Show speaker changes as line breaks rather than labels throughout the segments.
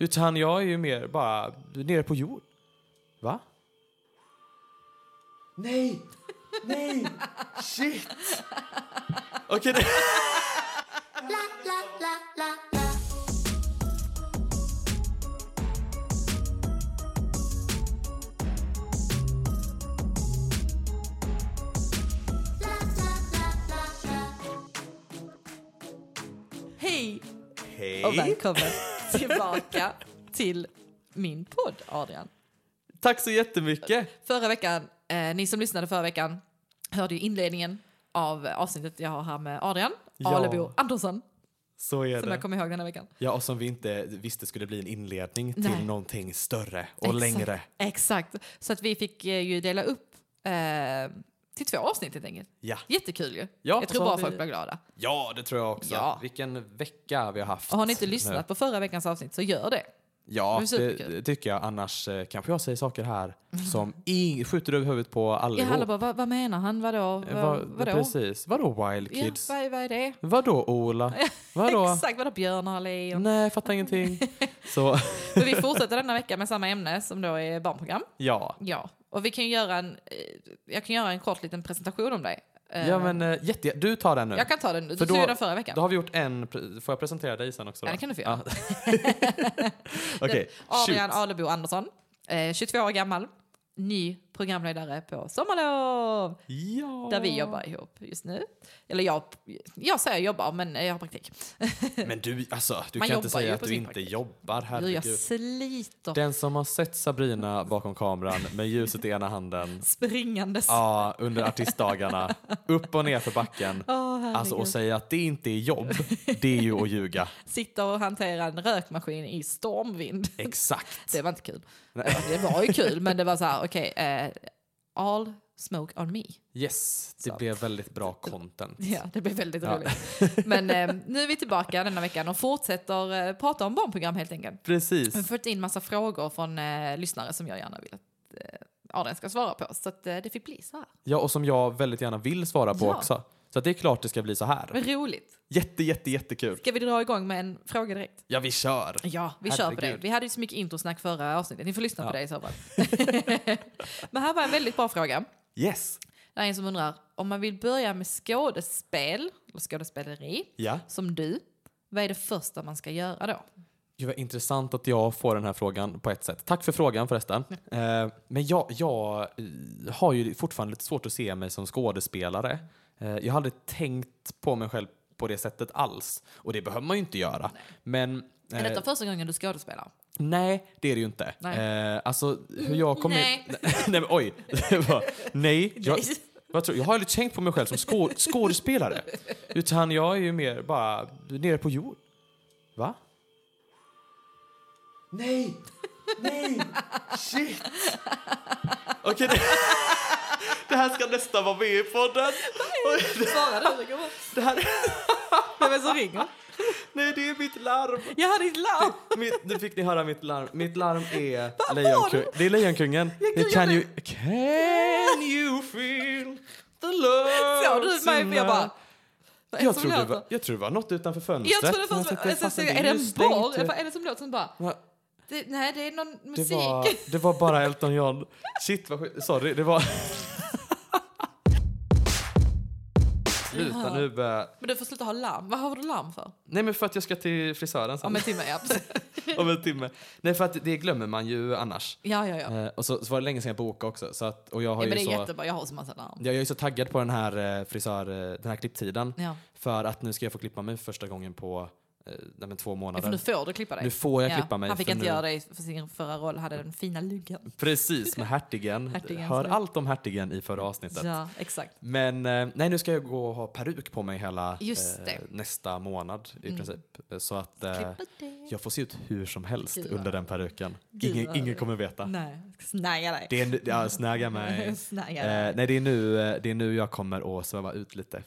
Utan jag är ju mer bara nere på jord. Va? Nej! Nej! Shit! Okej, det...
Hej och
Hej!
välkommen tillbaka till min podd Adrian.
Tack så jättemycket!
Förra veckan, eh, ni som lyssnade förra veckan hörde ju inledningen av avsnittet jag har här med Adrian
Ja.
Alebo Andersson
Så är
som
det.
jag kommer ihåg den här veckan.
Ja, och som vi inte visste skulle bli en inledning
Nej.
till någonting större och
Exakt.
längre.
Exakt, så att vi fick eh, ju dela upp eh, till två avsnitt helt enkelt.
Ja.
Jättekul ju.
Ja,
jag tror
så
bara
har vi-
folk blir glada.
ja, det tror jag också.
Ja.
Vilken vecka vi har haft.
Och har ni inte lyssnat på förra veckans avsnitt så gör det.
Ja,
Det är
det,
superkul.
det tycker jag. Annars eh, kanske jag säger saker här som i, skjuter över huvudet på
Jag
allihop.
handlar bara, vad, vad menar han? Vadå?
Eh,
Vad,
vad-
vadå?
Precis. Vadå Wild
Ja,
Kids?
vad, är- vad är det?
Vadå Ola? Vadå?
Exakt, vadå björnar och lejon?
Nej, fattar ingenting. Så
Men vi fortsätter denna vecka med samma ämne som då är barnprogram.
ja.
Ja, och vi kan ju göra en, eh, jag kan göra en kort liten presentation om dig. Eh,
Ja men eh, jätte, du tar den nu.
Jag kan ta den nu,
För
du tog
då-
ju den förra veckan.
Då har vi gjort en, pre- får jag presentera dig sen också?
Ja,
då?
det kan du få göra.
Ja. Ah, Okej,
Adrian
shoot.
Alebo Andersson, eh, 22 år gammal, ny programledare på Sommarlov,
Ja.
där vi jobbar ihop just nu. Eller jag, jag säger jobbar, men jag har praktik.
Men du, alltså, du
Man
kan inte
jobbar ju
säga
på
att du
sin
inte
praktik.
jobbar,
Hur jag
herregud.
sliter
Den som har sett Sabrina bakom kameran med ljuset i ena handen
springandes.
Ja, under artistdagarna. Upp och ner för backen.
Åh, herregud.
Alltså och säga att det inte är jobb, det är ju att ljuga.
Sitter och hanterar en rökmaskin i stormvind.
Exakt.
Det var inte kul. Det var ju kul, men det var så här, okej, eh, all smoke on me.
Yes, det
Så.
blev väldigt bra content.
Ja, det blev väldigt
Ja.
roligt. Men eh, nu är vi tillbaka denna veckan och fortsätter eh, prata om barnprogram helt enkelt. Vi har
Precis.
fått in massa frågor från eh, lyssnare som jag gärna vill att eh, Adrian ska svara på. Så att, eh, det fick bli så här.
Ja, och som jag väldigt gärna vill svara på
Ja.
också. Så att det är klart det ska bli så här.
Men roligt.
Jätte, jätte, jättekul.
Ska vi dra igång med en fråga direkt?
Ja, vi kör.
Ja, vi kör på det.
Herregud.
Vi hade ju så mycket introsnack förra avsnittet. Ni får lyssna
Ja.
på det i så fall. Men här var en väldigt bra fråga.
Yes.
Det är en som undrar, om man vill börja med skådespel, eller skådespeleri,
Ja.
som du, vad är det första man ska göra då?
Gud vad intressant att jag får den här frågan på ett sätt. Tack för frågan förresten. Eh, men jag, jag eh, har ju fortfarande lite svårt att se mig som skådespelare. Eh, jag har aldrig tänkt på mig själv på det sättet alls. Och det behöver man ju inte göra. Men
Är
eh,
detta första gången du skådespelar?
nej, det är det ju inte.
Nej. Mm,
Eh, alltså hur jag kom
Nej.
in... nej men oj. Det var- nej. Jag, vad tror, jag har aldrig tänkt på mig själv som skå, skådespelare. Utan jag är ju mer bara nere på jord. Va? Nej! Nej! Shit! Okej, det, det här ska nästan vara med i podden. Oj,
Svara du, det går bra.
Det här,
Vem är det som ringer?
nej, det är mitt larm.
Jag hade ett larm!
Mitt, nu fick ni höra mitt larm. Mitt larm är
Vad
Lejonkungen.
var
Det är Lejonkungen.
Jag
Det Can
glömde.
you, can you feel the love
Såg du mig? Jag bara... Vad är det
Jag
som
trodde, det
låter?
var, jag trodde det var något utanför fönstret.
Jag trodde
Men
först... alltså,
satte
Jag
fast
tänkte,
den.
är det en
Just det,
borr?
inte.
Jag bara, Är det som låter som bara...
Va?
Det, nej, det är någon musik.
Det var, det var bara Elton John. Shit vad sjukt. Sorry, det var... Sluta nu börjar...
Men du får sluta ha larm. Vad har du larm för?
Nej men för att jag ska till frisören sen.
Om en timme, ja.
Om en timme. Nej för att det glömmer man ju annars.
Ja, ja, ja. ja
Eh, och så, så var det länge sedan jag bokade också. Så att, och jag, har
men
ju
det är
så,
jättebra. Jag har så massa larm.
jag är ju så taggad på den här eh, frisör, eh, den här klipptiden.
Ja.
För att nu ska jag få klippa mig första gången på eh, nej, men två
Ja, för nu
månader.
får du klippa dig.
Nu får jag klippa mig.
Han fick
för
inte
nu...
göra det för sin förra roll, hade den fina luggen.
Precis, med hertigen.
Hertigen,
Hör
sorry.
allt om hertigen i förra avsnittet.
Ja, exakt.
Men eh, nej, nu ska jag gå och ha peruk på mig hela eh,
Just det.
nästa månad i
Mm.
princip. Eh, Så att eh,
Klippa det.
jag får se ut hur som helst
Gud vad-
under den peruken.
Gud
Ingen,
vad-
ingen kommer veta.
Nej, jag ska snagga dig.
Det är, nu- ja, snäga mig. eh,
snagga dig.
nej, det är, nu, eh, det är nu jag kommer att sväva ut lite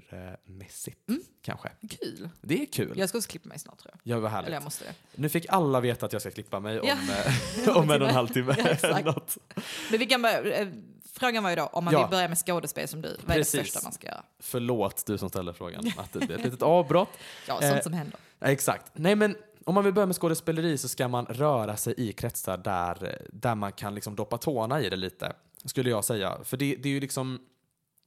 frisyrmässigt
Mm.
kanske.
Kul.
Det är kul.
Jag ska också klippa mig snart tror jag.
Ja, vad härligt.
Eller jag måste det.
Nu fick alla veta att jag ska klippa mig om,
Ja.
eh, om en och en halv timme.
Ja, exakt.
Något.
Men vi kan börja, eh, frågan var ju då om man
Ja.
vill börja med skådespel som du, vad är
Precis.
det första man ska göra?
Förlåt du som ställer frågan att det blir ett litet avbrott.
Ja, sånt
Eh,
som händer.
Ja, exakt. Nej men
Om man vill börja med skådespeleri så ska man röra sig i kretsar där, där man kan liksom doppa tårna i det lite, skulle jag säga. För det, det är ju liksom,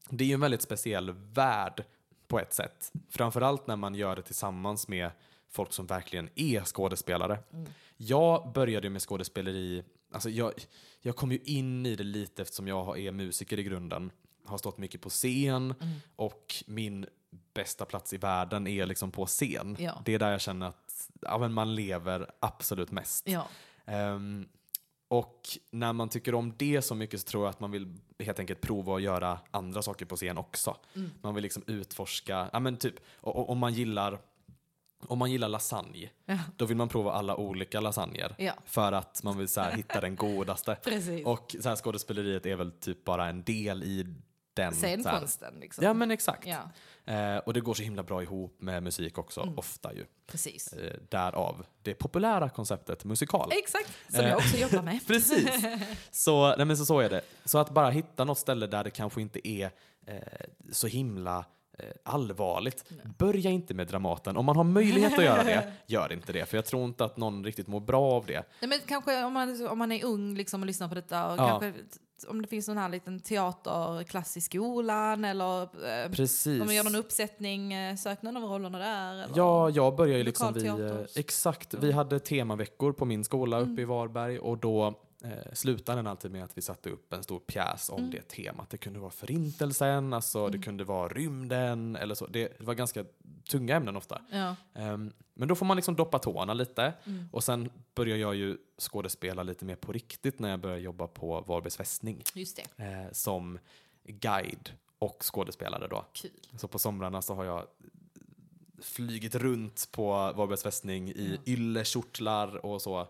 det är ju en väldigt speciell värld på ett sätt. Framförallt när man gör det tillsammans med folk som verkligen är skådespelare. Jag började ju med skådespeleri, alltså jag, jag kom ju in i det lite eftersom jag har- är musiker i grunden, har stått mycket på scen
Mm.
och min bästa plats i världen är liksom på scen.
Ja.
Det är där jag känner att ja, men man lever absolut mest.
Ja.
Ehm, och när man tycker om det så mycket så tror jag att man vill helt enkelt prova att göra andra saker på scen också. Man vill liksom utforska, ja men typ o- o- om man gillar om man gillar lasagne,
Ja.
då vill man prova alla olika lasagner.
Ja.
För att man vill så här, hitta den godaste.
Precis.
Och så här, skådespeleriet är väl typ bara en del i den. så här.
Scenkonsten liksom.
Ja men exakt.
Ja,
Eh, och det går så himla bra ihop med musik också, ofta ju.
precis.
Eh, därav det populära konceptet musikal.
Exakt,
eh,
som jag också jobbar med.
Precis. Så, nej men så, så är det. Så att bara hitta något ställe där det kanske inte är eh, så himla eh, allvarligt. Börja inte med Dramaten. Om man har möjlighet att göra det, gör inte det. För jag tror inte att någon riktigt mår bra av det.
Nej, men kanske om man, om man är ung liksom och lyssnar på detta. Och
Ja.
kanske, t- om det finns någon här liten teaterklass i skolan eller eh,
Precis.
om man gör någon uppsättning, eh, sök någon av rollerna där. Eller?
Ja, jag började ju liksom vid... eh,
Lokalteaters.
Exakt, vi hade temaveckor på min skola uppe i
Mm.
Varberg och då eh, slutade den alltid med att vi satte upp en stor pjäs
Mm.
om det temat. Det kunde vara förintelsen, alltså det kunde vara rymden eller så. Det var ganska tunga ämnen ofta.
Ja. mm,
Ehm, men då får man liksom doppa tårna lite och sen börjar jag ju skådespela lite mer på riktigt när jag börjar jobba på Varbergs fästning
Just det,
eh, som guide och skådespelare då.
kul.
Så på somrarna så har jag flygit runt på Varbergs fästning i yllekjortlar och så.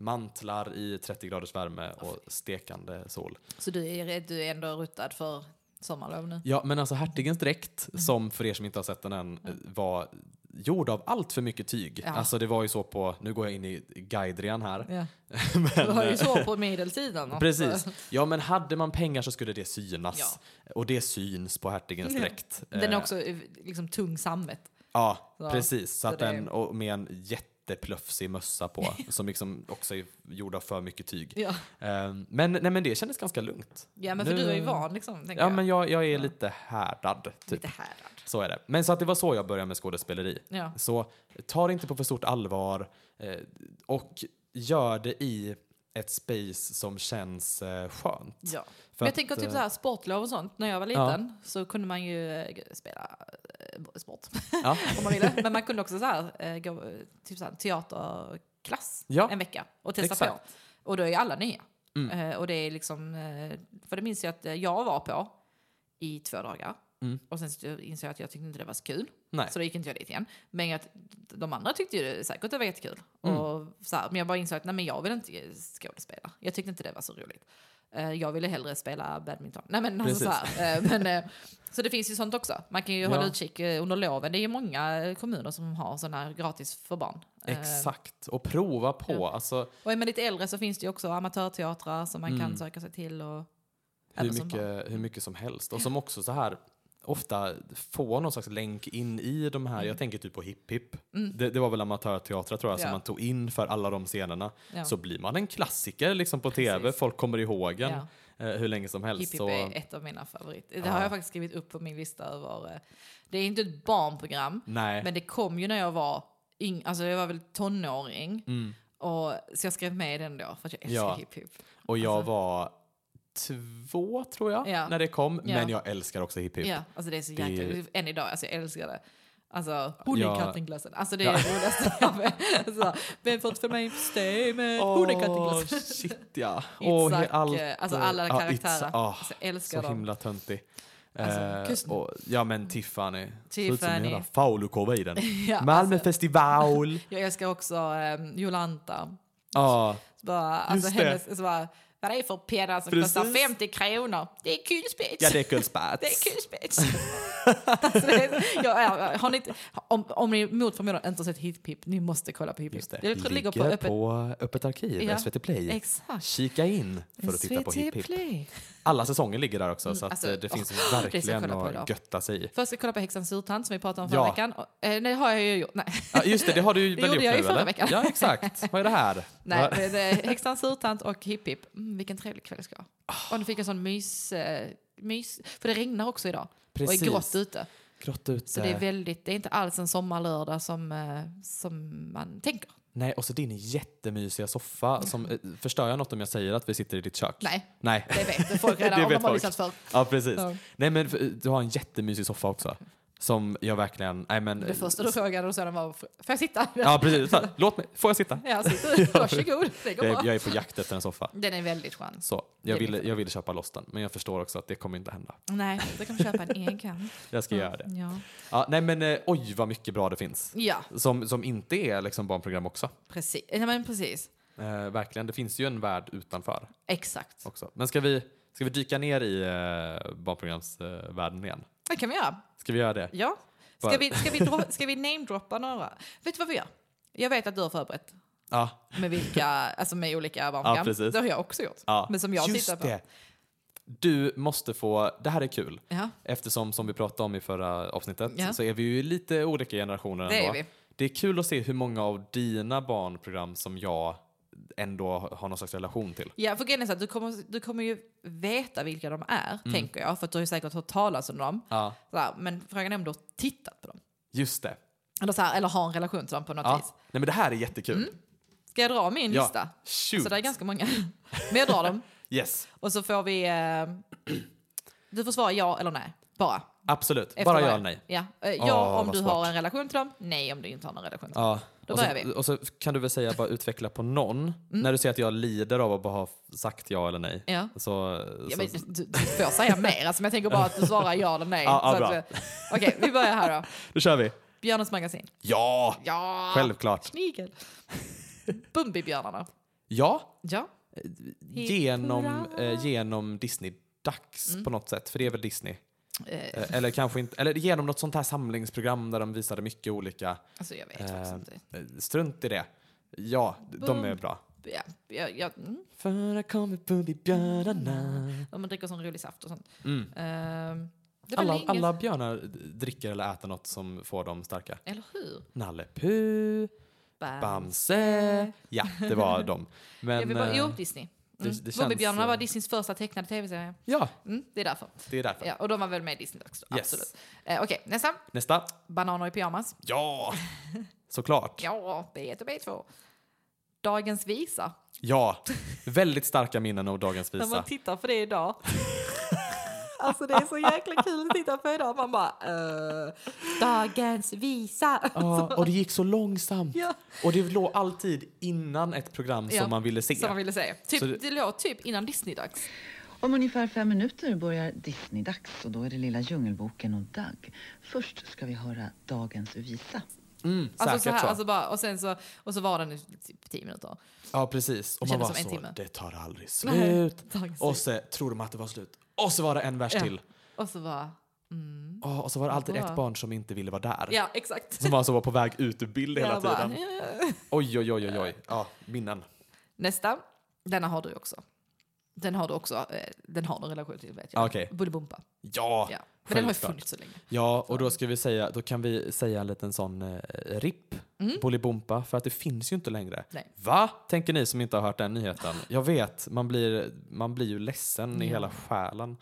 Mantlar i 30 graders värme och stekande sol.
Så du är, du är ändå ruttad för sommarlov nu?
Ja, men alltså hertigens dräkt, som för er som inte har sett den än, eh, var gjord av allt för mycket tyg.
Ja.
Alltså det var ju så på, nu går jag in i guidrian här.
Ja.
Men,
Du har
eh,
ju så på medeltiden. också.
Precis. Ja, men hade man pengar så skulle det synas. Och det syns på hertigens
Ja.
dräkt.
Den är
Eh,
också eh, liksom tung sammet.
Ja,
Så.
precis. Så att
det-
den, och med en jätteplöfsig mössa på, som liksom också är gjord av för mycket tyg.
Ja,
Ehm, men, nej, men det kändes ganska lugnt.
ja men för
Nu-
du är ju van liksom. tänker
Ja,
jag.
men jag, jag är lite härdad. Typ.
Lite härdad.
Så är det. Men så att det var så jag började med skådespeleri.
Ja.
Så ta det inte på för stort allvar eh, och gör det i ett space som känns eh, skönt.
Ja.
För
Men jag
att,
tänker typ
eh,
så här sportlov och sånt. När jag var liten så kunde man ju eh, spela eh, sport
Ja.
om man ville. Men man kunde också så här, eh, gå eh, typ så här, teaterklass
Ja.
en vecka och testa på.
Exakt. Mm.
Och då är ju alla nya. Eh, och det är liksom, eh, för det minns jag att eh, jag var på i två dagar.
Mm.
Och sen så insåg jag att jag tyckte inte det var så kul.
Nej.
Så då gick inte jag dit igen. Men att de andra tyckte ju det, säkert det var jättekul.
Mm.
Och så här, men jag bara insåg att nej, men jag vill inte skådespela. Jag tyckte inte det var så roligt. Eh, Jag ville hellre spela badminton. Nej, men alltså
Precis.
så, här, eh, men, eh, så det finns ju sånt också. Man kan ju
Ja.
hålla utkik eh, under loven. Det är ju många eh, kommuner som har sådana här gratis för barn. Eh,
Exakt. Och prova på.
ja.
Alltså,
Och är man lite äldre så finns det ju också amatörteatrar som man
Mm.
kan söka sig till. Och,
hur
även som barn.
mycket, hur mycket som helst. Och som också så här ofta får någon slags länk in i de här, jag tänker typ på Hipp Hipp. Det, det var väl amatörteatrar tror jag som
Mm. Ja.
man tog in för alla de scenerna.
Ja.
Så blir man en klassiker liksom på tv,
Precis.
folk kommer ihåg en eh, hur länge som helst.
Hipp Hipp
så,
är ett av mina favoriter. Det
Ja.
har jag faktiskt skrivit upp på min lista över. eh, Det är inte ett barnprogram,
nej,
men det kom ju när jag var yng, alltså jag var väl tonåring.
Mm.
Och, så jag skrev med den då för att jag älskar
Ja. typ.
Hipp Hipp.
och jag
alltså-
var två tror jag
Ja.
när det kom,
Ja.
men jag älskar också Hipp Hipp.
Ja, alltså det är så
Det är
jäkla
ju-
Än idag, alltså jag älskar det. Alltså,
Ja.
honungkattenglassen. Alltså det är det roligaste jag vet. Så, Vem får för mig steg med
Åh,
honungkattenglassen?
shit ja. Och
Itzhak,
allt,
eh, alltså
eh,
alla
ja,
karaktärer.
Itzhak, ah,
Alltså, jag älskar
så
dem.
himla töntig.
Alltså,
Eh,
kusten.
och, ja men Tiffany. Ser ut som en
Tiffany.
jävla falukorv i den.
Ja, alltså-
Malmöfestival.
Jag älskar också um, Jolanta.
Ja,
Så bara, alltså
Just det.
hennes, så bara, vad det är för penna som
Precis.
kostar 50 kronor? Det är kulspets.
ja det är kulspets.
det är kulspets. Alltså, det är- jag är, har ni inte, om, om ni mot förmodan inte har sett Hip Hip, ni måste kolla på Hip Hip.
Just det.
Jag tror det ligger på öppet...
på öppet arkiv,
Ja.
SVT Play.
Exakt.
Kika in för att titta på Hipp Hipp. Alla säsonger ligger där också,
Mm,
så att
alltså,
eh, det
åh,
finns
det ska jag
verkligen
kolla på
att
idag.
götta sig i.
Först ska jag kolla på Häxans surtant som vi pratade om förra
Ja.
veckan. Och, eh, det har jag ju gjort. Nej,
Ja, just det, det har du
Det
väl gjort
gjorde jag
nu
ju förra
eller?
veckan.
Ja, exakt. Vad är det här?
Nej
Va-
men, eh, Häxans surtant och Hipp Hipp. Mm, vilken trevlig kväll det ska vara.
Ah.
Och nu fick jag sån mys, eh, mys... För det regnar också idag. Och är grått ute.
Grått ute.
Så det är väldigt, det är inte alls en sommarlördag som, eh, som man tänker.
Nej, och så din jättemysiga soffa. Som, eh, förstör jag något om jag säger att vi sitter i ditt kök?
Nej,
Nej.
det vet folk
Det
redan om
vet
de har
folk.
lyssnat förr.
Ja, precis.
Ja.
Nej, men för, eh, du har en jättemysig soffa också. Som jag verkligen... Nej, men,
Det första du frågade och sedan var, får jag sitta?
Ja, precis. Fan, Låt mig. Får jag sitta?
Ja, sitter. Varsågod, det går
Jag, är-
bra.
jag är på jakt efter en soffa.
Den är väldigt skön.
Så,
Det är
jag ville,
bättre.
jag ville köpa loss den, men jag förstår också att det kommer inte hända.
Nej, då kan man köpa en egen.
Jag ska göra det.
Ja,
Ja, nej, men eh, oj vad mycket bra det finns.
ja
Som, som inte är liksom barnprogram också.
precis. Ja, men precis.
Eh, verkligen, det finns ju en värld utanför
Exakt.
också. Men ska vi, ska vi dyka ner i eh, barnprogramsvärlden igen?
Det kan vi göra.
Ska vi göra det?
Ja. Ska vi, ska vi, dro- ska vi namedroppa några? Vet du vad vi gör? Jag vet att du har förberett
Ja,
med, vilka, alltså med olika barnprogram.
precis.
det har jag också gjort.
ja.
Men som jag
Just
tittar på.
det. Du måste få, det här är kul,
Ja,
eftersom som vi pratade om i förra avsnittet
Ja.
så är vi ju lite olika generationer
det
ändå.
är vi.
Det är kul att se hur många av dina barnprogram som jag ändå har någon slags relation till.
Ja, för grejen är så att du kommer, du kommer ju veta vilka de är,
Mm.
tänker jag. För att du har ju säkert hört talas om dem.
Ja,
Så här, men frågan är om du har tittat på dem.
just det.
Eller, så här, eller har en relation till dem på något
Ja.
vis.
Nej, men det här är jättekul.
Mm. Ska jag dra min
Ja.
lista?
Shoot.
Så det är ganska många. Men jag drar dem.
Yes,
Och så får vi... Eh, du får svara ja eller nej. Bara.
absolut.
Efter
Bara
varje.
ja eller nej.
Ja, eh, ja
Åh,
om
vad
du
svårt.
har en relation till dem. Nej om du inte har någon relation till dem.
Ja.
Då
och, så,
börjar vi. Mm.
och så kan du väl säga, bara utveckla på någon. När du ser att jag lider av att bara ha sagt ja eller nej.
Ja.
Så,
Ja,
så,
men, du, du får säga mer, alltså, men jag tänker bara att du svarar ja eller nej.
Ja, ja,
Så
bra.
att, eh, Okej, vi börjar här då.
då kör vi.
Björnens magasin.
Ja,
Ja!
självklart.
Snigel. Bumbibjörnarna.
Ja,
Ja.
genom,
hurra.
eh, genom Disney-dags på något sätt, för det är väl Disney?
Eh,
Eh, Eller kanske inte, eller genom något sånt här samlingsprogram där de visade mycket olika.
alltså jag vet faktiskt
Eh,
inte.
Eh, Strunt i det. Ja, d- de är bra.
Ja, jag, jag, mm.
För här kommer Bumbibjörnarna.
De dricker sån rolig saft och sånt.
Mm.
Ehm, det är väl
Alla,
inget-
alla björnar d- dricker eller äter något som får dem starka.
Eller hur?
Nalle Puh,
Bam. Eh,
Bamse. Ja, det var dem.
jag
Men,
vill bara,
eh,
jo, Disney. Mm.
det känns,
Bumbibjörnarna var
eh,
Disneys första tecknade tv-serie.
ja,
Mm, det är därför.
det är därför.
Ja, och de var väl med i Disney också?
Yes.
Absolut. Eh, Okej, nästa.
Nästa.
Bananer i pyjamas.
Ja, såklart.
Ja, B1 och B2. Dagens visa.
Ja, väldigt starka minnen av dagens
När man
visa.
tittar på det idag. alltså det är så jäkla kul att titta på idag. Man bara... eh, dagens visa.
Ja, och det gick så långsamt.
ja.
Och det låg alltid innan ett program som
Ja,
man ville se.
Som man ville säga. Typ,
Så
det...
det-
låg typ innan Disney-dags.
Om ungefär fem minuter börjar Disney-dags och då är det Lilla Djungelboken och Doug. Först ska vi höra dagens visa.
Mm,
Alltså
säkert
så
så.
här, alltså bara, och, sen så, och så var den i typ 10 minuter.
ja, precis. Och
Det
man var
kändes som en timme.
så, det tar aldrig slut.
Dagens
Och så tror de att det var slut. Och så var det en vers
Ja.
till.
och så bara...
Ja, och så var det alltid
Bra.
ett barn som inte ville vara där.
Ja, exakt.
Som var, som var på väg ut ur bild hela
Jag bara,
tiden.
"Ja."
Oj, oj, oj, oj, oj. Ja, minnen.
Nästa. Denna har du också. Den har du också. eh, Den har du en relation till vet jag.
Ja, Okej.
Bullybumpa.
Ja.
Ja. Men den har ju
Självklart.
funnits så länge.
ja, och då ska vi säga, då kan vi säga en liten sån eh, RIP, Bolibompa, för att det finns ju inte längre.
Mm. Nej.
Va? Tänker ni som inte har hört den nyheten. Jag vet, man blir, man blir ju ledsen i
Ja.
hela själen.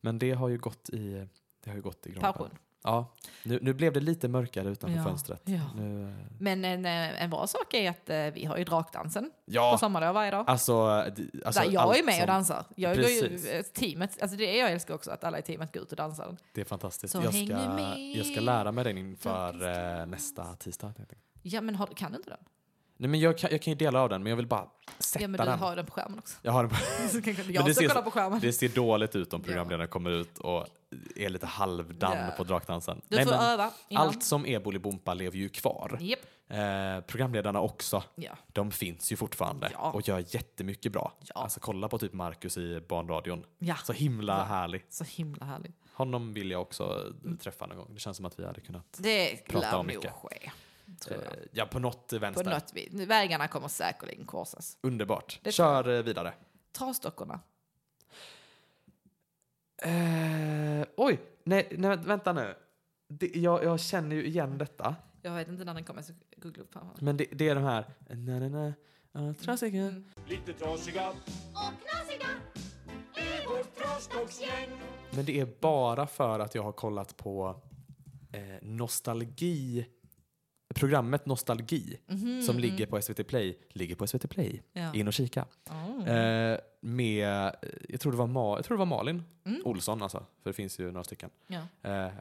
Men det har ju gått i, det har ju gått i graven.
Pension.
Ja, nu, nu blev det lite mörkare utanför
Ja,
fönstret.
ja.
Nu, eh,
Men en, eh, en bra sak är att eh, vi har ju drakdansen på
ja.
sommarlov varje dag.
Alltså, d- alltså,
Där jag
allt
är med och
som-
dansar. Jag går ju,
Precis.
eh, teamet, alltså det är jag älskar också, att alla i teamet går ut och dansar.
Det är fantastiskt.
Så
Jag
häng
ska,
nu med.
jag ska lära mig den inför eh, nästa tisdag. helt enkelt.
Ja men har, kan du inte den?
Nej, men jag, kan, jag kan ju dela av den, men jag vill bara sätta
Ja men du
den.
har den på skärmen också.
Jag har den på...
Så kan- kan-
det
Jag ska
ser så-
kolla på skärmen.
Det ser dåligt ut om programledaren kommer ut och är lite halvdan
Ja.
på drakdansen.
Du
Nej,
får
men
öva innan.
Allt som är Bolibompa lever ju kvar.
Japp.
Eh, programledarna också.
Ja.
De finns ju fortfarande
Ja.
och gör jättemycket bra.
Ja.
Alltså kolla på typ Marcus i barnradion.
ja.
Så himla
Ja.
härlig.
Så himla härligt.
Honom vill jag också eh, träffa någon gång. Det känns som att vi hade kunnat
Det
Prata
lär
om
nog
mycket.
ske.
eh,
Tror jag.
ja, på något
På
vänster.
något vis. Vägarna kommer säkerligen korsas.
Underbart.
Det tror
Kör eh, vidare.
Trasdockorna.
Eh, oj, nej, nej vä- vänta nu. Det, jag, jag känner ju igen detta.
Jag vet inte när den kommer, så googla upp här.
Men det, det är de här... Na, na, na, ah, trasiga.
Mm.
Lite trasiga,
och knasiga i vårt trasdocksgäng.
Men det är bara för att jag har kollat på eh, nostalgi. Programmet Nostalgi
Mhm,
som
mm.
ligger på SVT Play. Ligger på SVT Play.
Ja.
In och kika.
Oh.
Eh, med, eh, jag tror det var, Ma- jag tror det var Malin
Mm.
Olsson alltså. För det finns ju några stycken.
Ja.
Eh,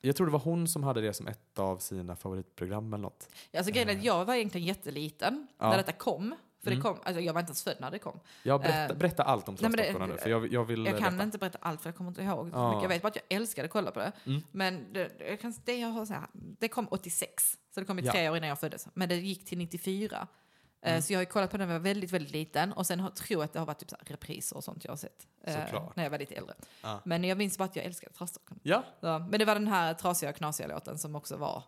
jag tror det var hon som hade det som ett av sina favoritprogram eller något.
Alltså, grejen är att jag var egentligen jätteliten
Eh. Ja.
när detta kom. För
Mm.
det kom, alltså jag var inte ens född när det kom.
Ja, berätta,
Eh,
berätta allt om
nej, men det-
Trasdockorna nu, för jag, jag vill
Jag kan
veta.
inte berätta allt för jag kommer inte ihåg. så
Ja.
mycket. Jag vet bara att jag älskade att kolla på det.
Ah. Mm.
Men det, jag kan, det, jag har så här, det kom 86, så det kom i
Ja.
tre år innan jag föddes. Men det gick till 94. Eh,
Mm.
Så jag har ju kollat på den när jag var väldigt, väldigt liten. Och sen har, tror jag att det har varit typ så här repriser och sånt jag har sett. eh,
Såklart.
när jag var lite äldre.
Ja.
Men jag minns bara att jag älskade Trasdockorna.
Ja,
Ja, men det var den här trasiga och knasiga låten som också var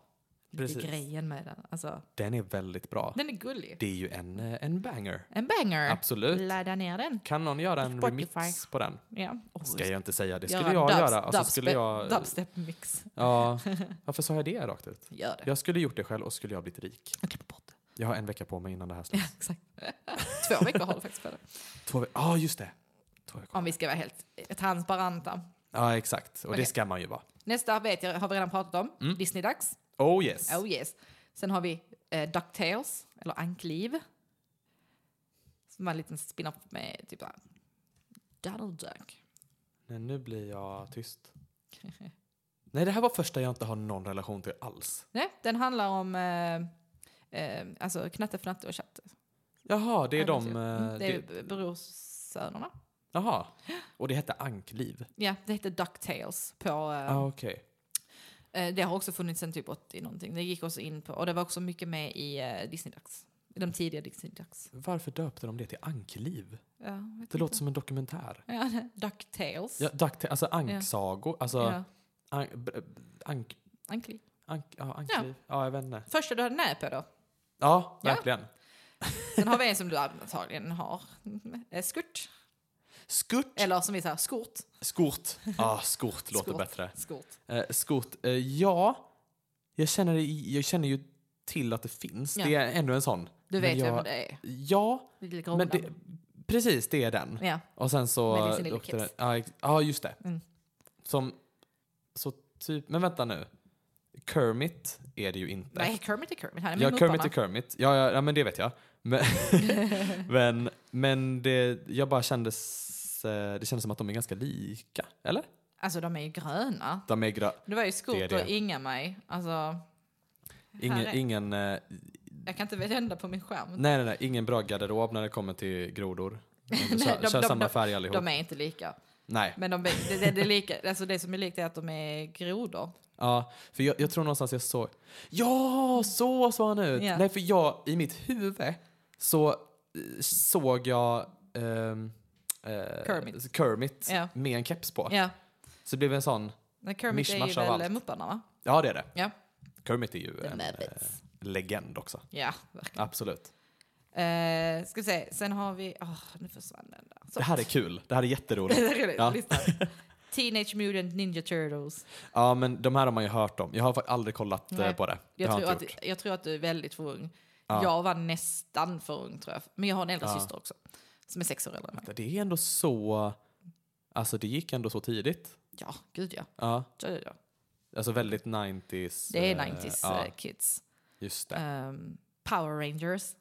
lite
Precis.
grejen med den. Alltså,
den är väldigt bra.
den är gullig.
Det är ju en, eh, en banger.
En banger.
Absolut.
Ladda ner den.
Kan någon göra en
Spotify.
remix på den?
Ja. Oh,
Ska jag inte säga, det
göra
skulle jag
dubs-
göra. Och så
dubstep-
skulle jag,
Dubstep-mix.
ja, varför sa jag det rakt ut?
Gör det.
Jag skulle gjort det själv och skulle jag blivit rik.
Jag klipper bort det.
Jag har en vecka på mig innan det här släpps.
Ja, exakt. Två veckor har du faktiskt på det.
Två veckor, ja just det. Två veckor.
Om vi ska vara helt transparenta.
Ja exakt, och det
Okej.
ska man ju vara.
Nästa vet jag, har vi redan pratat om.
Mm.
Disney-dags.
Oh yes.
Oh yes. Sen har vi eh, DuckTales, eller Ankliv. Som var en liten spin-off med typ såhär... Donald Duck.
Nej, nu blir jag tyst. Nej, det här var första jag inte har någon relation till alls.
Nej, den handlar om eh, eh, alltså Knatte, Fnatte och Tjatte.
Jaha, det är de...
Mm,
eh,
Det är
det-
brorsönerna.
Jaha. Och det hette ankliv?
Ja, det heter DuckTales på... eh,
Ah, okej.
Eh, Det har också funnits sen typ 80 någonting. Det gick också in på, och det var också mycket med i eh, Disney-dags. I De tidiga Disney-dags.
Varför döpte de det till ankliv?
Ja, jag vet
Det
inte.
låter som en dokumentär.
Ja, Ducktails.
Ja, duck, alltså anksago, alltså
Ja.
ank, b- ank,
Ankli.
ank, ja, ankliv. Ja. jag vet inte.
Första du hade nära på då.
Ja,
Ja.
verkligen.
Sen har vi en som du antagligen har. Eh, Skurt.
Skurt.
Eller som vi säger, skort.
Skort. Ja, ah, skort låter
Skort.
bättre.
Skort.
Eh, skort. Eh, ja, jag känner, jag känner ju till att det finns.
Ja.
Det är ännu en sån.
Du vet
men
vem
jag,
det är.
Ja,
Lille
men
Grodan.
det, precis det är den.
Ja,
Och sen så...
Med sin lilla
åkte den-
keps.
Ja, ex- ja, just det.
Mm.
Som... Så typ... Men vänta nu. Kermit är det ju inte.
nej Kermit är Kermit. Han är
ja,
min
Kermit
motståndare.
är Kermit. Ja, ja, ja, men det vet jag. Men, men, men det, jag bara kändes... eh, Det kändes som att de är ganska lika, eller?
Alltså de är ju gröna.
De är grö...
Det var ju
Det är
Skurt
det.
och Inga-Maj. Alltså,
Ingen,
Herre.
ingen, eh,
jag kan inte vända på min skärm.
nej, nej, nej, ingen bra garderob när det kommer till grodor. De kör,
de-
kör
de-
samma
de-
färg allihop.
De är inte lika.
nej.
Men de, det, det, det, är lika, alltså det som är likt är att de är grodor.
Ja, för jag, jag tror någonstans jag såg... Ja, så såg han ut!
Ja.
Nej, för jag, i mitt huvud så eh, såg jag... ehm, eh,
Kermit.
Kermit
Ja.
med en keps på.
Ja.
Så det blev en sån...
Men Kermit är
Mishmash av
ju väl
allt.
Mupparna va?
Ja, det är det.
Ja.
Kermit är ju
The
en eh,
Muppets.
legend också.
Ja, verkligen.
Absolut.
Eh, ska vi se, sen har vi... Åh, nu försvann den där. Så.
Det här är kul. Det här är
Det
jätteroligt.
är roligt.
Ja.
Lyssna. Teenage Mutant Ninja Turtles.
Ja, men de här har man ju hört om. Jag har fa- aldrig kollat eh,
Nej.
på det. Det
Jag
har
tror,
jag inte gjort.
att, jag tror att du är väldigt för ung.
Ja.
Jag var nästan för ung tror jag. Men jag har en äldre
Ja.
syster också. Som är sex år äldre än mig.
Alltså, Det är ändå så... Alltså, det gick ändå så tidigt.
Ja, gud ja.
Ja.
Ja, ja, ja.
Alltså väldigt 90s.
Det är
eh,
90s
ja,
eh, kids.
just det.
Ehm, Power Rangers.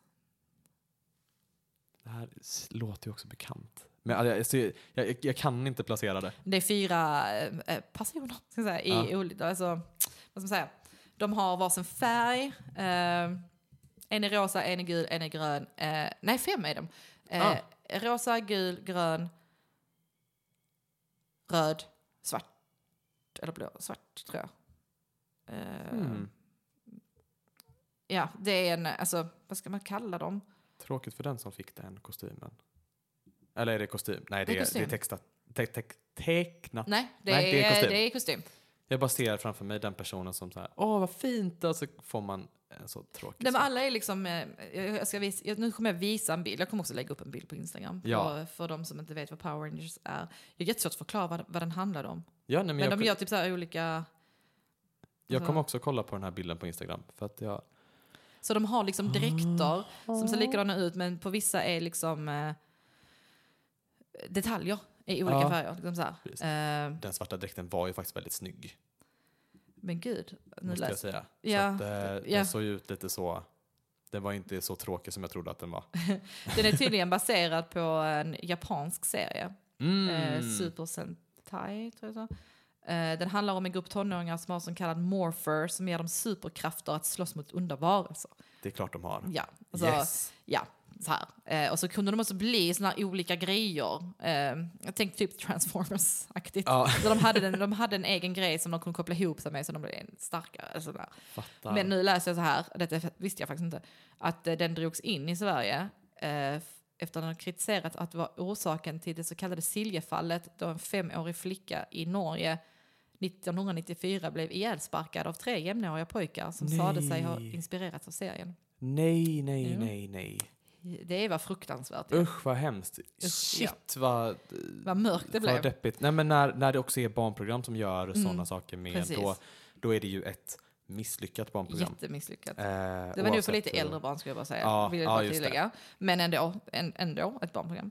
Det här s- låter ju också bekant. Men alltså, jag, ser- jag, jag, jag kan inte placera det.
Det är fyra eh, eh, personer ska jag säga, i olika... Alltså, vad ska man säga? De har varsin färg. Eh, en är rosa, en är gul, en är grön. Eh, nej, fem är de. Eh,
Ah.
Rosa, gul, grön, röd, svart.
Hmm.
Eller blå. Svart, tror jag. Eh, ja, det är en, alltså, vad ska man kalla dem?
Tråkigt för den som fick den kostymen. Eller är det kostym? Nej,
Det är
det, är, det
kostym.
är textat. Te, te, tecknat.
Nej, det,
Nej, det är
är,
kostym.
det är kostym.
Jag bara ser framför mig den personen som så här, åh vad fint, och så får man en så tråkig
Nej, men
sak.
alla är liksom, eh, jag jag ska visa, jag, nu kommer jag visa en bild, jag kommer också lägga upp en bild på Instagram.
Ja.
För, för de som inte vet vad Power Rangers är. Jag är jättesvårt att förklara vad, vad den handlade om.
Ja, nej, men
Men Mm.
jag,
de gör typ så här olika,
jag kommer också kolla på den här bilden på Instagram. För att jag,
så de har
Ah.
liksom dräkter som ser likadana ut men på vissa är liksom eh, detaljer i olika
Ja.
färger. Liksom så
Ah. Precis.
här. Eh,
den svarta dräkten var ju faktiskt väldigt snygg,
men gud, nu
måste jag
läste
säga.
Ja,
Så att, eh,
ja.
den såg ju ut lite så, den var inte så tråkig som jag trodde att den var.
Eh, Den är tydligen baserad på en japansk serie. Eh,
Mm.
Super Sentai, tror jag så. Eh, den handlar om en grupp tonåringar som har så kallad morpher som ger dem superkrafter att slåss mot onda varelser.
Det är klart de har.
Ja, alltså,
Yes.
ja så här. Eh, och så kunde de också bli såna här olika grejer. Eh, jag tänkte typ Transformers-aktigt.
Ja.
Så de, hade en, de hade en egen grej som de kunde koppla ihop sig med så de blev en starkare. Alltså, där.
Fattar.
Men nu läser jag så här, detta visste jag faktiskt inte, att eh, den drogs in i Sverige eh, f- efter att den kritiserats att det var orsaken till det så kallade Siljefallet då en femårig flicka i Norge 1994 blev ihjälsparkad av tre jämnåriga pojkar som
Nej.
sade sig ha inspirerats av serien.
Nej, nej,
Jo.
nej, nej.
Det var fruktansvärt.
Usch vad hemskt.
ja.
Shit vad,
Vad mörkt det
vad
blev. Mm,
deppigt. Nej, men när, när det också är barnprogram som gör sådana saker med,
precis.
då, då är det ju ett misslyckat barnprogram.
Jättemisslyckat.
Eh,
Det var nog för
oavsett
lite
hur-
äldre barn skulle jag bara säga.
Ja,
vill jag
ja,
bara
just det.
tillägga. Men ändå, en, ändå ett barnprogram.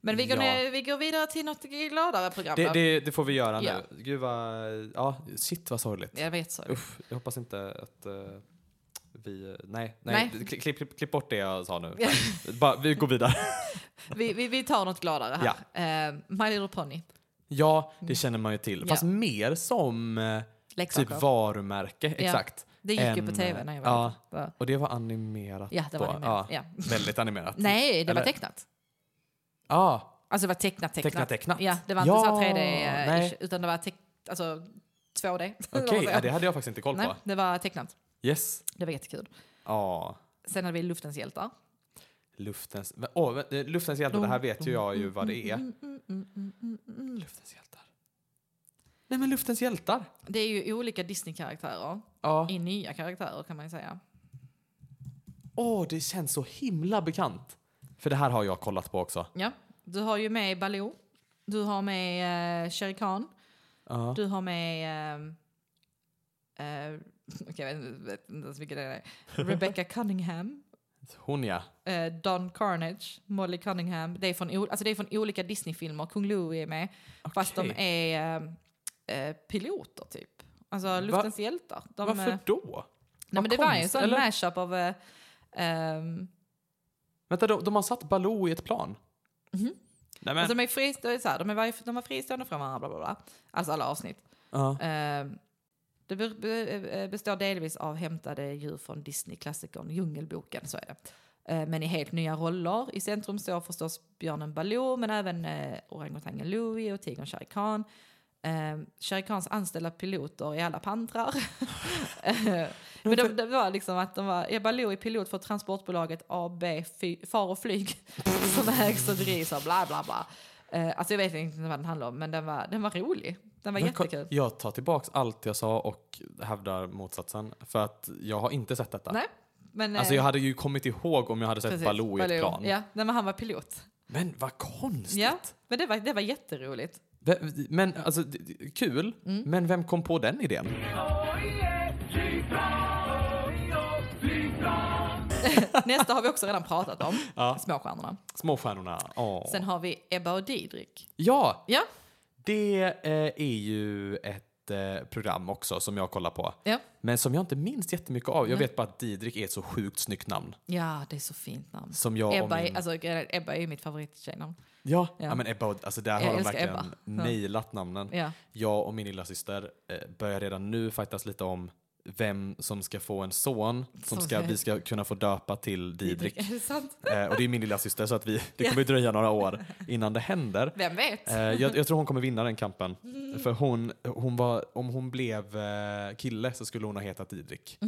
Men vi går,
Ja.
ner, vi går vidare till något gladare program.
Det,
då.
det, det får vi göra
Ja.
nu. Gud vad, ja, shit vad sorgligt.
Jag vet så.
Usch, jag hoppas inte att eh, vi, nej,
Nej.
nej, Klipp, klipp, klipp bort det jag sa nu. Bara, vi går vidare.
Vi, vi, vi tar något gladare här. Eh, My Little Pony.
Ja, det känner man ju till. Fast
Mm. Ja.
mer som eh, typ
Leksaker.
varumärke,
Ja.
exakt.
det gick ju
än,
på tv när jag var
ja.
liten.
Och det var animerat
Ja, det var
då.
animerat.
Ja.
Ja.
Väldigt animerat.
Nej, det
Eller-
var tecknat.
Ja,
Alltså det var tecknat, tecknat.
Tecknat, tecknat.
Ja, det var inte
Ja,
så här 3D, eh,
nej.
ish, utan det var teck, alltså 2D.
okej. Ja, det hade jag faktiskt inte koll
Nej,
på.
det var tecknat.
Yes.
Det var jättekul.
Ja.
Sen hade vi Luftens hjältar.
Luftens... men- Åh, men, eh, luftens hjältar, det här vet ju jag ju vad det
Mm,
är. Luftens hjältar. Nej men luftens hjältar.
Det är ju olika Disney-karaktärer
Ja.
i nya karaktärer kan man ju säga.
Åh, det känns så himla bekant. För det här har jag kollat på också.
Ja, du har ju med Baloo, du har med eh, Shere Khan,
Ja.
Du har med... ehm, eh, okej, jag vet inte- vet inte ens vilken det är. Rebecca Cunningham,
Hon ja.
eh, Don Carnage, Molly Cunningham. Det är från, o- alltså det är från olika Disney-filmer. Kung Louie är med. Fast de
Okej.
är ehm, eh, piloter, typ. Alltså Luftens hjältar. De, eh,
Varför då?
nej, men det var ju en
konst-
sån
eller?
mashup av... Eh, ehm,
Vänta, de, de har satt Baloo i ett plan? Nej men...
alltså de är fristående, så här, de, är varje, de var fristående från varandra, bla bla bla. Alltså alla avsnitt.
ja.
Ehm, Det be- be- eh, består delvis av hämtade djur från Disney-klassikern Djungelboken, så är det. Eh, Men i helt nya roller. I centrum står förstås björnen Baloo, men även eh, orangutangen Louie och tigern Shere Khan. Eh, Shere Khans anställda piloter är alla pantrar. Eh, men de, det var liksom att de var, ja, Baloo är pilot för transportbolaget AB Fy, Far och Flyg som ägs och drivs av bla bla bla. Eh, alltså jag vet inte vad den handlar om, men den var, den var rolig. Den var
Men ko-
jättekul.
Jag tar tillbaks allt jag sa och hävdar motsatsen. För att jag har inte sett detta.
Nej, men...
Alltså
eh,
jag hade ju kommit ihåg om jag hade sett
precis,
Baloo i ett plan.
Ja, nej, men han var pilot.
Men vad konstigt!
Ja, men det var, det var jätteroligt.
Ve- Men alltså, d- d- kul.
Mm.
Men vem kom på den idén?
Nästa har vi också redan pratat om,
Ja.
Småstjärnorna.
Småstjärnorna. Åh.
Sen har vi Ebba och Didrik.
Ja,
Ja,
det eh, är ju ett eh, program också som jag kollar på.
ja.
Men som jag inte minns jättemycket av. Jag vet bara att Didrik är ett så sjukt snyggt namn.
ja det är så fint namn.
Som jag och
Ebba, är,
min-
alltså, grejen är- Ebba är ju mitt favorittjejnamn.
Ja, ja.
Ja.
men Ebba och, alltså där
Jag
har de
älskar
verkligen
Ebba. Ja.
nailat namnen.
Ja.
Jag och min lilla syster eh, börjar redan nu fightas lite om vem som ska få en son som
Som
ska,
ska-
vi ska kunna få döpa till Didrik.
Är det sant?
Eh, och det är min lilla syster så att vi, det kommer ju dröja några år innan det händer.
Vem vet?
Eh, jag, jag tror hon kommer vinna den kampen. För hon, hon var, om hon blev eh, kille så skulle hon ha hetat Didrik.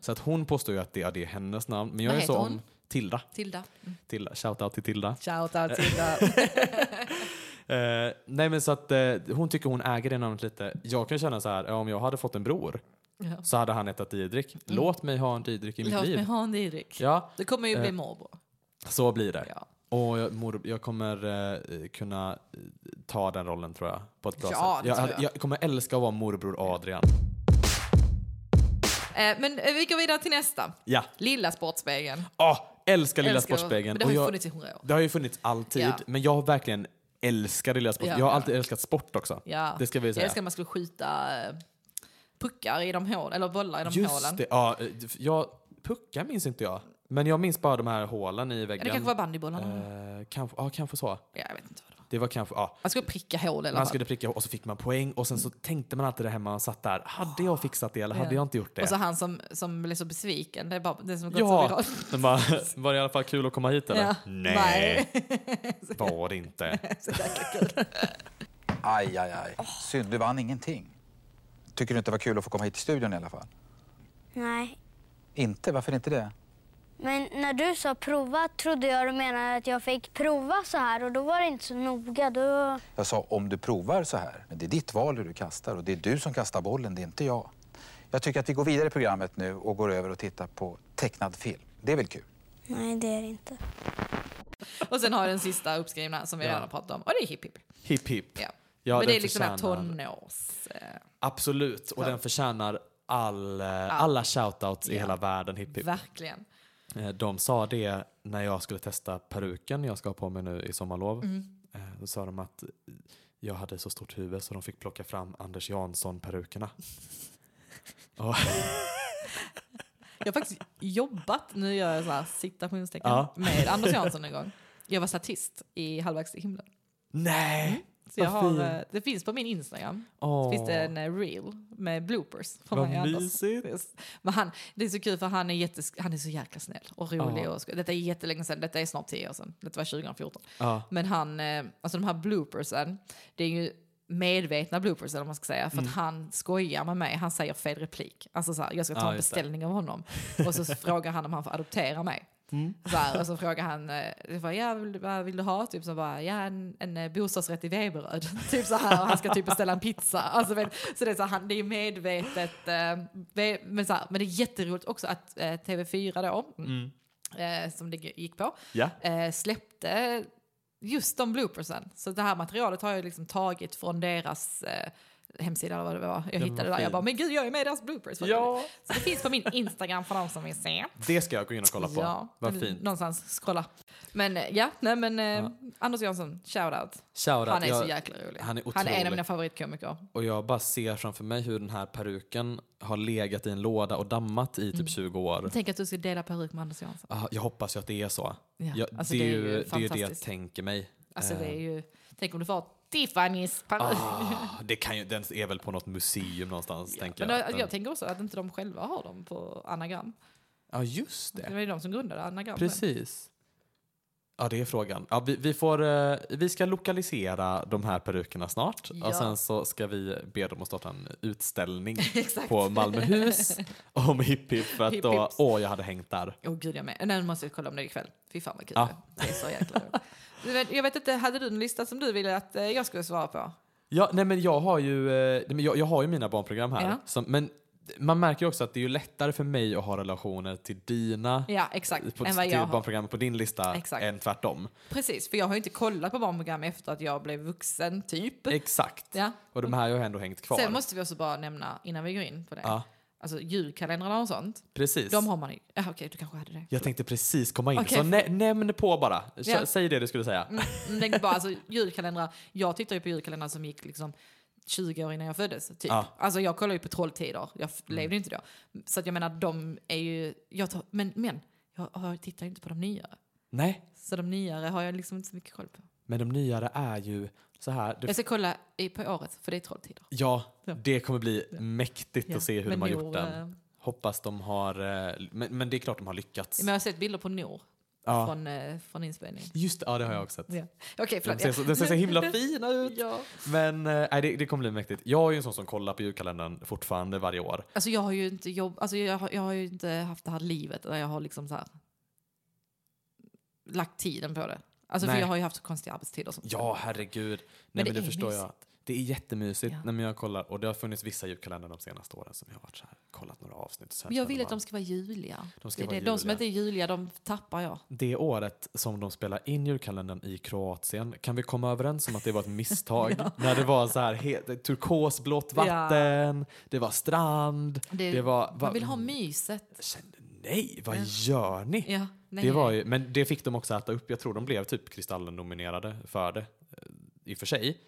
Så att hon påstår ju att det, ja, det är hennes namn. Men jag
Mhm. Vad
är så
heter
om
hon?
Tilda.
Tilda. Mm.
Tilda. Shoutout till Tilda.
Shout out Tilda.
Eh, nej men så att eh, hon tycker hon äger det namnet lite. Jag kan känna så här, ja, om jag hade fått en bror
Ja.
så hade han hetat Didrik. Låt mig ha en Didrik i mitt
Mm. Låt
liv.
mig ha en Didrik.
Ja,
Du kommer ju
Eh.
bli morbror.
så blir det.
Ja,
Och jag, mor, jag kommer eh, kunna eh, ta den rollen tror jag på ett bra
Ja,
sätt.
det
Jag,
tror jag.
hade- jag kommer älska att vara morbror Adrian.
Eh, Men eh, vi går vidare till nästa.
Ja,
Lilla Sportspegeln.
ah, älskar Lilla
Älskar- Men
Sportspegeln.
det har
Och
ju
jag,
funnits i hundra år.
det har ju funnits alltid,
Ja.
men jag har verkligen älskat Lilla Sportspegeln.
Ja,
jag har
ja.
alltid älskat sport också.
Ja.
Det ska vi säga.
Jag älskar att man skulle skjuta eh, puckar i de hål, eller bollar i de
Just
hålen.
det, ja. eh, Jag, puckar minns inte jag. Men jag minns bara de här hålen i
Ja,
väggen.
det kanske var bandybollarna.
Eh, kanske, ja, kanske så.
Ja, jag vet inte vad det var.
Det var kanske, ja.
Man skulle pricka hål i alla
Man
fall.
skulle pricka och så fick man poäng och sen så tänkte man alltid det hemma och satt där. Hade jag fixat det eller hade
Ja.
jag inte gjort det?
Och så han som, som blev så besviken, det är bara det som gått så
ja!
viralt.
Men bara, var det i alla fall kul att komma hit eller?
Ja.
Nej, var det inte.
Aj, aj, aj. Synd, du vann ingenting. Tycker du inte det var kul att få komma hit till studion i alla fall?
Nej,
Inte? Varför inte det?
men när du sa prova trodde jag du menade att jag fick prova så här och då var det inte så noga. Då...
Jag sa om du provar så här. Men det är ditt val hur du kastar och det är du som kastar bollen, det är inte jag. Jag tycker att vi går vidare i programmet nu och går över och tittar på tecknad film. Det är väl kul?
Nej, det är det inte.
Och sen har jag den sista uppskrivna som vi
Ja.
redan har pratat om. Och det är hipp hipp.
Hipp hipp.
Ja.
Ja,
Men
den
det är liksom den här
förtjänar-
tonårs... Eh,
Absolut, och den förtjänar all, eh, alla shoutouts i hela världen. Hipp hipp.
verkligen.
Eh, De sa det när jag skulle testa peruken jag ska ha på mig nu i sommarlov.
Mm.
Eh, Då sa de att jag hade så stort huvud så de fick plocka fram Anders Jansson-perukerna. Och-
Jag har faktiskt jobbat, nu gör jag så här citationstecken,
Ja.
med Anders Jansson en gång. Jag var statist i Halvvägs till himlen.
Nej!
Så jag
Vad fin.
har, eh, det finns på min Instagram.
Åh.
finns det en eh, reel med bloopers från
Vad
mig och Anders.
mysigt.
Yes. Men han, det är så kul för han är, jättes, han är så jäkla snäll och rolig.
Ja.
Och, sk- detta är jättelänge sedan, detta är snart 10 år sedan. Detta var 2014.
Ja.
Men han, eh, alltså de här bloopersen, det är ju medvetna bloopersen om man ska säga. För
Mm.
att han skojar med mig, han säger fel replik. Alltså så här, jag ska ta
Ja,
en
just det.
beställning av honom. Och så frågar han om han får adoptera mig.
Mm.
Så här, och så frågar han, eh, jag bara, ja, vill, du- vad vill du ha? Typ så bara, ja, en, en eh, bostadsrätt i Veberöd. typ så här, och han ska typ beställa en pizza. Alltså, vet, så det är, så här, han, det är medvetet. Eh, ve- men, så här, men det är jätteroligt också att eh, TV4 då,
Mm.
eh, som det g- gick på,
Ja.
eh, släppte just de bloopersen. Så det här materialet har jag liksom tagit från deras eh, hemsida eller vad det var. Jag hittade
var
där.
fin.
Jag bara, men gud jag är med i deras bloopers. Vad
Ja.
roligt. Så det finns på min Instagram för de som vill se.
Det ska jag gå in och kolla på. Vad fint.
Någonstans scrolla. Men eh, ja, nej men eh, Anders Jansson, shoutout.
Shoutout.
Han är
jag,
så jäkla rolig.
han är
en
otrolig.
av mina favoritkomiker.
Och jag bara ser framför mig hur den här peruken har legat i en låda och dammat i typ
Mm.
20 år.
Tänk att du ska dela peruk med Anders Jansson.
Ah, Jag hoppas ju att det är så.
Ja,
Jag,
alltså
det, är
det är
ju,
ju
det är ju det jag
fantastiskt.
tänker mig.
Alltså
Eh,
det är ju, tänk om du får Tiffany's peruk.
ah, det kan ju, den är väl på något museum någonstans, tänker
Men
jag.
jag,
Den-
jag tänker också att inte de själva har dem på anagram.
Ja, just
Det
det.
var ju de som grundade anagram.
Precis. Ja, det är frågan. Ja, vi, vi, får, eh, vi ska lokalisera de här perukerna snart och
Ja.
sen så ska vi be dem att starta en utställning
Exakt.
på Malmöhus om hipp hipp för att
Hipp
då,
hipps.
åh, jag hade hängt där.
Åh gud jag med. Nej nu måste jag kolla om det är ikväll. Fy fan vad kul
Ja.
det är. Det är så jäkla roligt. Du vet- Jag vet inte, hade du en lista som du ville att eh, jag skulle svara på?
Ja, nej men jag har ju, eh, nej, men jag, jag har ju mina barnprogram här.
Ja.
Som, men man märker ju också att det är ju lättare för mig att ha relationer till dina
Ja exakt,
på,
än vad
till
jag har.
barnprogrammen på din lista
Exakt.
än tvärtom.
Precis, för jag har ju inte kollat på barnprogram efter att jag blev vuxen, typ.
Exakt.
Ja.
Och de här har ju ändå hängt kvar.
Sen måste vi också bara nämna, innan vi går in på det,
Ja.
alltså julkalendrarna och sånt.
Precis.
De har man ju, ja, okej du kanske hade det.
Jag tänkte precis komma in.
Okej.
Så nä nämn på bara. Sä-
Ja.
Säg det du skulle säga.
Mm, tänk bara, alltså, julkalendrar. Jag tittar ju på julkalendrar som gick liksom 20 år innan jag föddes. Typ.
Ja. Mm.
Alltså, jag kollar ju på Trolltider, jag f- levde ju inte då. Så att jag menar, de är ju... Jag tar, men, men jag har, tittar ju inte på de nyare.
Nej.
Så de nyare har jag liksom inte så mycket koll på.
Men de nyare är ju så här. Det,
Jag ska kolla i, på året, för det är Trolltider.
ja,
Ja.
det kommer bli mäktigt
Ja,
att se hur
men
de har
Nor,
gjort den.
eh,
Hoppas de har... eh, Men, men det är klart de har lyckats.
Men jag har sett bilder på Nor
Ja.
från, eh, från inspelningen.
Just det, ja, det har jag också sett.
Ja. Okej,
De
förlåt.
ser,
ja.
så, de ser så himla fina ut.
Ja.
Men eh, nej, det, det kommer bli mäktigt. Jag är ju en sån som kollar på julkalendern fortfarande varje år.
Alltså jag har ju inte jobb, alltså jag, har- jag har ju inte haft det här livet där jag har liksom så här lagt tiden på det. Alltså
Nej.
för jag har ju haft så konstiga arbetstider och sånt.
Ja, herregud. Nej,
Men
men det,
det är
förstår jag.
mysigt.
Det är jättemysigt
Ja.
när jag kollar. Och det har funnits vissa julkalendrar de senaste åren som jag har varit så här, kollat några avsnitt. Så här
Men jag
känner
vill att
man-
de ska vara juliga.
De ska
det, är
vara
det, de som
juliga.
inte är juliga, de tappar jag.
Det året som de spelar in julkalendern i Kroatien, kan vi komma överens om att det var ett misstag? När det var så här he- turkosblått
Ja.
vatten, det var strand, det,
Det-
var... va-
Man vill ha myset.
Nej, vad gör ni?
Ja, nej.
Det var ju, men det fick de också äta upp. Jag tror de blev typ Kristallen-nominerade för det. eh, I och för sig.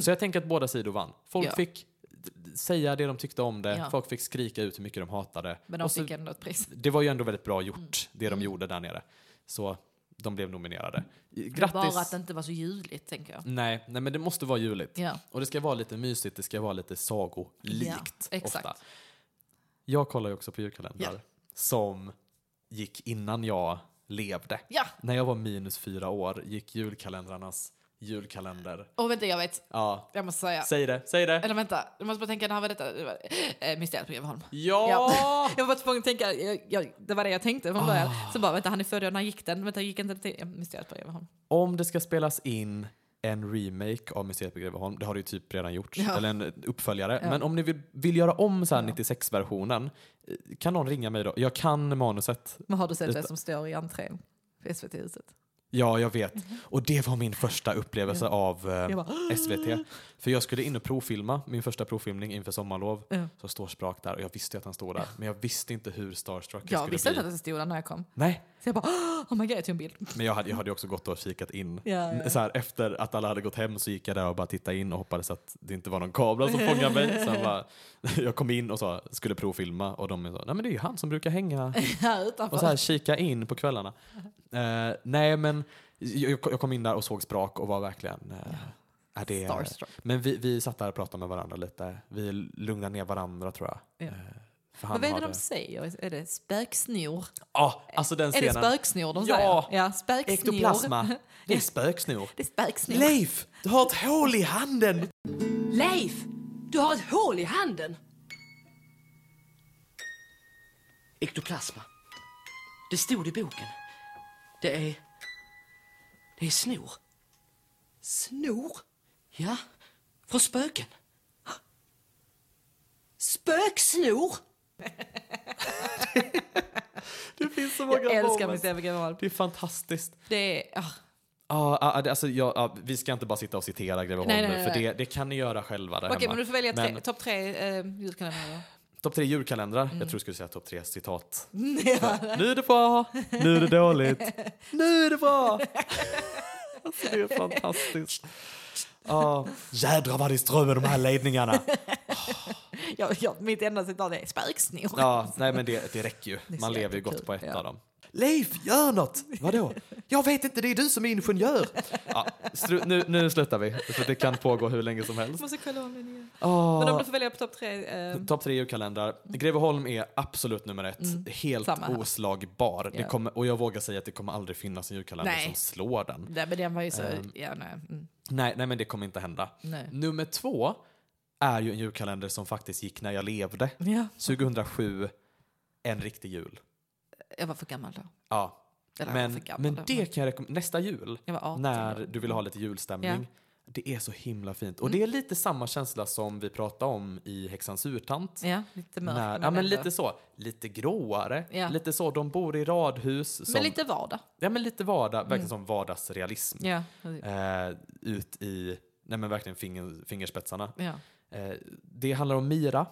Så jag tänker att båda sidor vann. Folk
Mhm. Ja.
fick d- d- säga det de tyckte om det.
Ja.
Folk fick skrika ut hur mycket de hatade.
Men de Mm.
Och så,
fick ändå ett pris.
Det var ju ändå väldigt bra gjort, det de gjorde där nere. Så de blev nominerade. Grattis!
Bara att det inte var så juligt, tänker jag.
Nej, nej, men det måste vara juligt.
Ja.
Och det ska vara lite mysigt, det ska vara lite sagolikt.
Ja, exakt.
Ofta. Jag kollar ju också på julkalendrar
Ja.
som gick innan jag levde.
Ja,
När jag var minus fyra år gick julkalendrarnas julkalender.
och vänta, jag vet.
Ja,
Jag måste säga.
säg det, säg det.
Eller vänta, jag måste bara tänka, det här var detta. Det var, eh, mysteriet på Greveholm.
Ja!
Ja. Jag var tvungen att tänka, jag, jag, det var det jag tänkte från början.
Ah.
Så bara, vänta han är född, när gick den? Vänta, gick inte till eh, Mysteriet på Greveholm?
Om det ska spelas in en remake av Museet på Greveholm, det har det ju typ redan gjorts,
Ja.
eller en uppföljare. Men om ni vill, vill göra om så här 96-versionen, kan någon ringa mig då? Jag kan manuset.
Men har du sett
Detta-
det som står i entrén på SVT-huset?
Ja, jag vet.
Mhm.
Och det var min första upplevelse av eh,
Jag
SVT. För jag skulle in och provfilma, min första provfilmning inför sommarlov.
Ja.
Så står Sprak där och jag visste ju att han stod där. Men jag visste inte hur starstruck jag,
Jag
skulle
visste
bli.
inte att det stod där när jag kom.
Nej,
Så jag bara, oh my god, jag tog en bild.
men jag hade, jag hade ju också gått och kikat in.
Ja, ja.
Så här, efter att alla hade gått hem så gick jag där och bara tittade in och hoppades att det inte var någon kamera som fångade mig. Sen bara, jag kom in och sa, skulle provfilma och de sa, nej men det är ju han som brukar hänga
Här utanför.
och så här kika in på kvällarna. Eh, nej men jag, jag kom in där och såg sprak och var verkligen eh, är det,
Starstruck.
Men vi, vi satt där och pratade med varandra lite. Vi lugnade ner varandra tror jag.
Ja.
Eh, för han
Vad är det
hade-
de säger? Är det spöksnor?
Ja, alltså den
Är det
scenen.
spöksnor de
Ja.
säger? Ja, spöksnor.
Ektoplasma. Det är spöksnor.
Det är spöksnor.
Leif, du har ett hål i handen!
Leif, du har ett hål i handen. Ektoplasma. Det stod i boken. Det är... Det är snor. Snor? Ja, från spöken. Spöksnor?
Det finns så många
Jag älskar
moments.
Mysteriet på Greveholm.
Det är fantastiskt.
Det är... ah.
Ja, ah, ah, det- alltså, jag, ah, vi ska inte bara sitta och citera Greveholm
Nej, nej,
nu,
nej,
för
nej.
det, det kan ni göra själva där
Okej,
hemma.
men du får välja tre,
Men
topp tre eh, julkalendrar.
Topp tre julkalendrar.
Mm.
Jag tror du skulle säga topp tre citat. Nu är det bra, nu är det dåligt, nu är det bra. Alltså det är fantastiskt. Ja, jädrar vad det strömmar de här ledningarna.
Ja, ja, mitt enda citat är spöksnor.
Ja, nej men det, det räcker ju.
är så
Man lever ju
jäkla
gott
kul,
på ett
ja.
av dem. Leif, gör något! Vadå? Jag vet inte, det är du som är ingenjör. Ja, stru- nu, nu slutar vi, för det kan pågå hur länge som helst.
Jag måste kolla om den igen.
Åh.
Men om du får välja på topp tre... Eh,
Topp tre julkalendrar. Greveholm är absolut nummer ett. Helt
Samma här.
oslagbar. Det
Ja.
kommer, och jag vågar säga att det kommer aldrig finnas en julkalender
Nej.
som slår den.
nej, men den var ju så...
Ehm.
ja, nej. Mm.
Nej, nej, men det kommer inte hända.
Nej.
Nummer två är ju en julkalender som faktiskt gick när jag levde.
Ja.
2007, En riktig jul.
Jag var för gammal då.
Ja.
Eller jag var
Men,
för gammal
men
då,
det kan jag rekommendera. Nästa jul,
Jag var 18
när
då.
du vill ha lite julstämning.
Ja. Mm.
Det är så himla fint. Och det är lite samma känsla som vi pratade om i Häxans urtant.
Ja, lite mörk.
När, ja, men
ändå-
lite så. Lite gråare.
Ja.
Lite så. De bor i radhus. Som,
Men lite vardag.
ja, men lite vardag. Verkligen som vardagsrealism.
Ja.
Eh, ut i nej, men verkligen finger, fingerspetsarna.
ja.
Eh, det handlar om Mira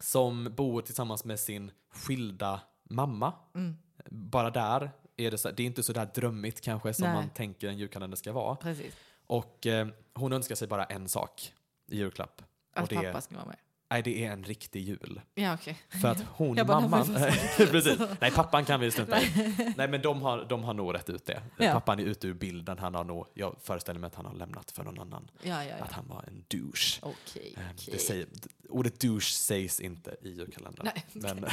som bor tillsammans med sin skilda mamma.
mm,
Bara där. Är det, så, det är inte så där drömmigt kanske som
Nej.
man tänker en julkalender ska vara.
Precis.
Och eh, hon önskar sig bara en sak i julklapp.
Att
och det,
pappa ska vara med.
Nej, det är en riktig jul.
Ja, okej.
För att hon,
Jag bara, nej,
mamman...
men
precis. Nej, pappan kan vi strunta i. Nej, men de har, de har nog rätt ut det.
Ja.
Pappan är ute ur bilden. Han har nog, jag föreställer mig att han har lämnat för någon annan.
Ja, ja, ja.
Att han var en douche.
Okej,
Eh,
okej.
Det säger, ordet douche sägs inte i julkalendern.
Nej,
Men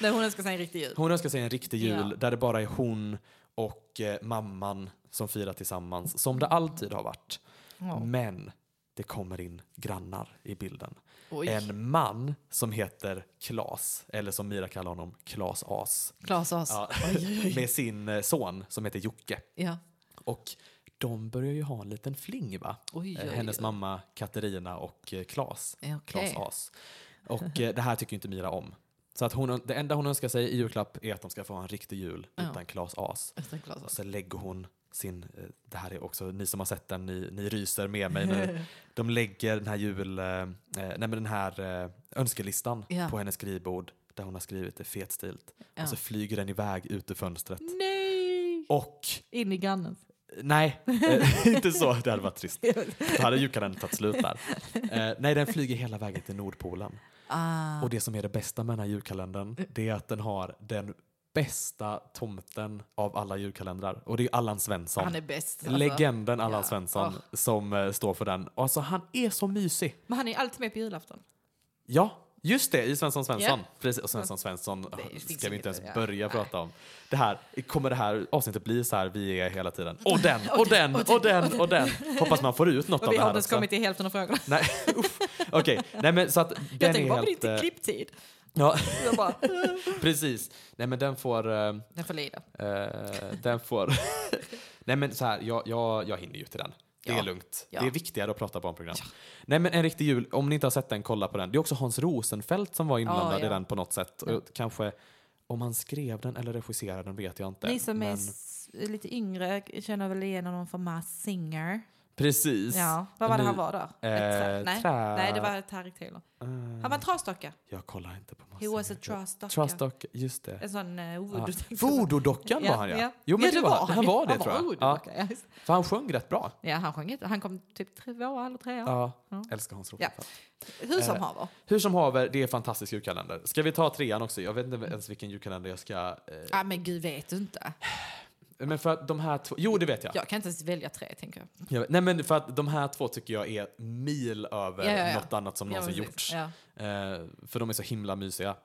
Nej, hon önskar sig en riktig jul.
hon önskar sig en riktig jul
Ja.
där det bara är hon och eh, mamman som firar tillsammans, som det alltid har varit.
Ja.
Men det kommer in grannar i bilden.
Oj.
En man som heter Klas, eller som Mira kallar honom, Klas As.
Klas As.
Ja, med sin eh, son som heter Jocke.
Ja.
Och de börjar ju ha en liten fling va?
Oj,
Eh,
oj,
Hennes
oj.
mamma Katarina och eh, Klas.
Ja, okej.
Klas As. Och eh, det här tycker ju inte Mira om. Så att hon, det enda hon önskar sig i julklapp är att de ska få ha en riktig jul
Ja.
utan Klas As.
Utan Klas
Och
As.
så lägger hon sin, eh, det här är också, ni som har sett den, ni, ni ryser med mig nu. De lägger den här jul, eh, eh, nej men den här eh, önskelistan
Ja.
på hennes skrivbord där hon har skrivit det fetstilt.
Ja.
Och så flyger den iväg ut ur fönstret.
Nej!
Och,
In i grannen.
nej, eh, inte så, det hade varit trist. Då hade julkalendern tagit slut där. Eh, nej, den flyger hela vägen till Nordpolen.
Ah. Eh.
Och det som är det bästa med den här julkalendern, det är att den har den bästa tomten av alla julkalendrar. Och det är Allan Svensson.
Han är bäst. Alltså.
Legenden Allan
Ja. Ah.
Svensson som eh, står för den. Alltså han är så mysig.
Men han är alltid med på julafton.
Ja, just det, i Svensson Svensson.
Ja.
Precis, och Svensson Svensson eh,
finns
ska vi
inget
inte ens
att göra.
börja
Nej.
prata om. Det här, kommer det här avsnittet bli så här, vi är hela tiden, och den, och den, och den, och den. Hoppas man får ut något
Och
av
vi
det
har
här
inte ens
också.
kommit till hälften av frågorna.
Nej, uff. okej. Nej men så att
Jag
den
tänker,
är
varför är det
helt...
inte
eh,
klipptid?
Ja,
Jag bara,
precis. Nej men den får... eh,
den får lida.
Eh, den får... Nej men så här, jag, jag, jag hinner ju till den. Det
Ja.
är lugnt.
Ja.
Det är viktigare att prata barnprogram. Nej men En riktig jul, om ni inte har sett den, kolla på den. Det är också Hans Rosenfeldt som var inblandad
ja.
i den på något sätt. Och Kanske om han skrev den eller regisserade den vet jag inte.
Ni som är
men,
s- lite yngre känner väl igen honom från Mass Singer?
Precis.
Ja, vad var det
Nu-
han var då? Ett trä-
eh,
nej.
trä- Eh.
nej, det var Tareq Taylor. Han var en trasdocka.
Jag kollar inte på massor.
He was a trasdocka.
Trustdock, just det.
En sån uh,
Ja.
voodoo.
Voodoo-dockan var han ja. Jo men
Ja,
det var han. Han var det tror jag. Ja,
voodoo-docka, Ja. just det.
för han sjöng rätt bra.
ja, han sjöng inte. Han kom typ tvåa eller trea.
Ja. Älskar Hans Rosenfeldt.
Hur
eh,
som haver.
Hur som haver, det är en fantastisk julkalender. Ska vi ta trean också? Jag vet inte ens vilken julkalender jag ska... Eh,
Ja, men gud vet du inte.
men för att de här två... Jo, det vet jag.
Jag kan inte ens välja tre, tänker jag.
jag vet, nej, men för att de här två tycker jag är mil över
Ja, ja, ja.
något annat som
Ja,
någonsin
men
gjorts.
Ja.
Eh, för de är så himla mysiga.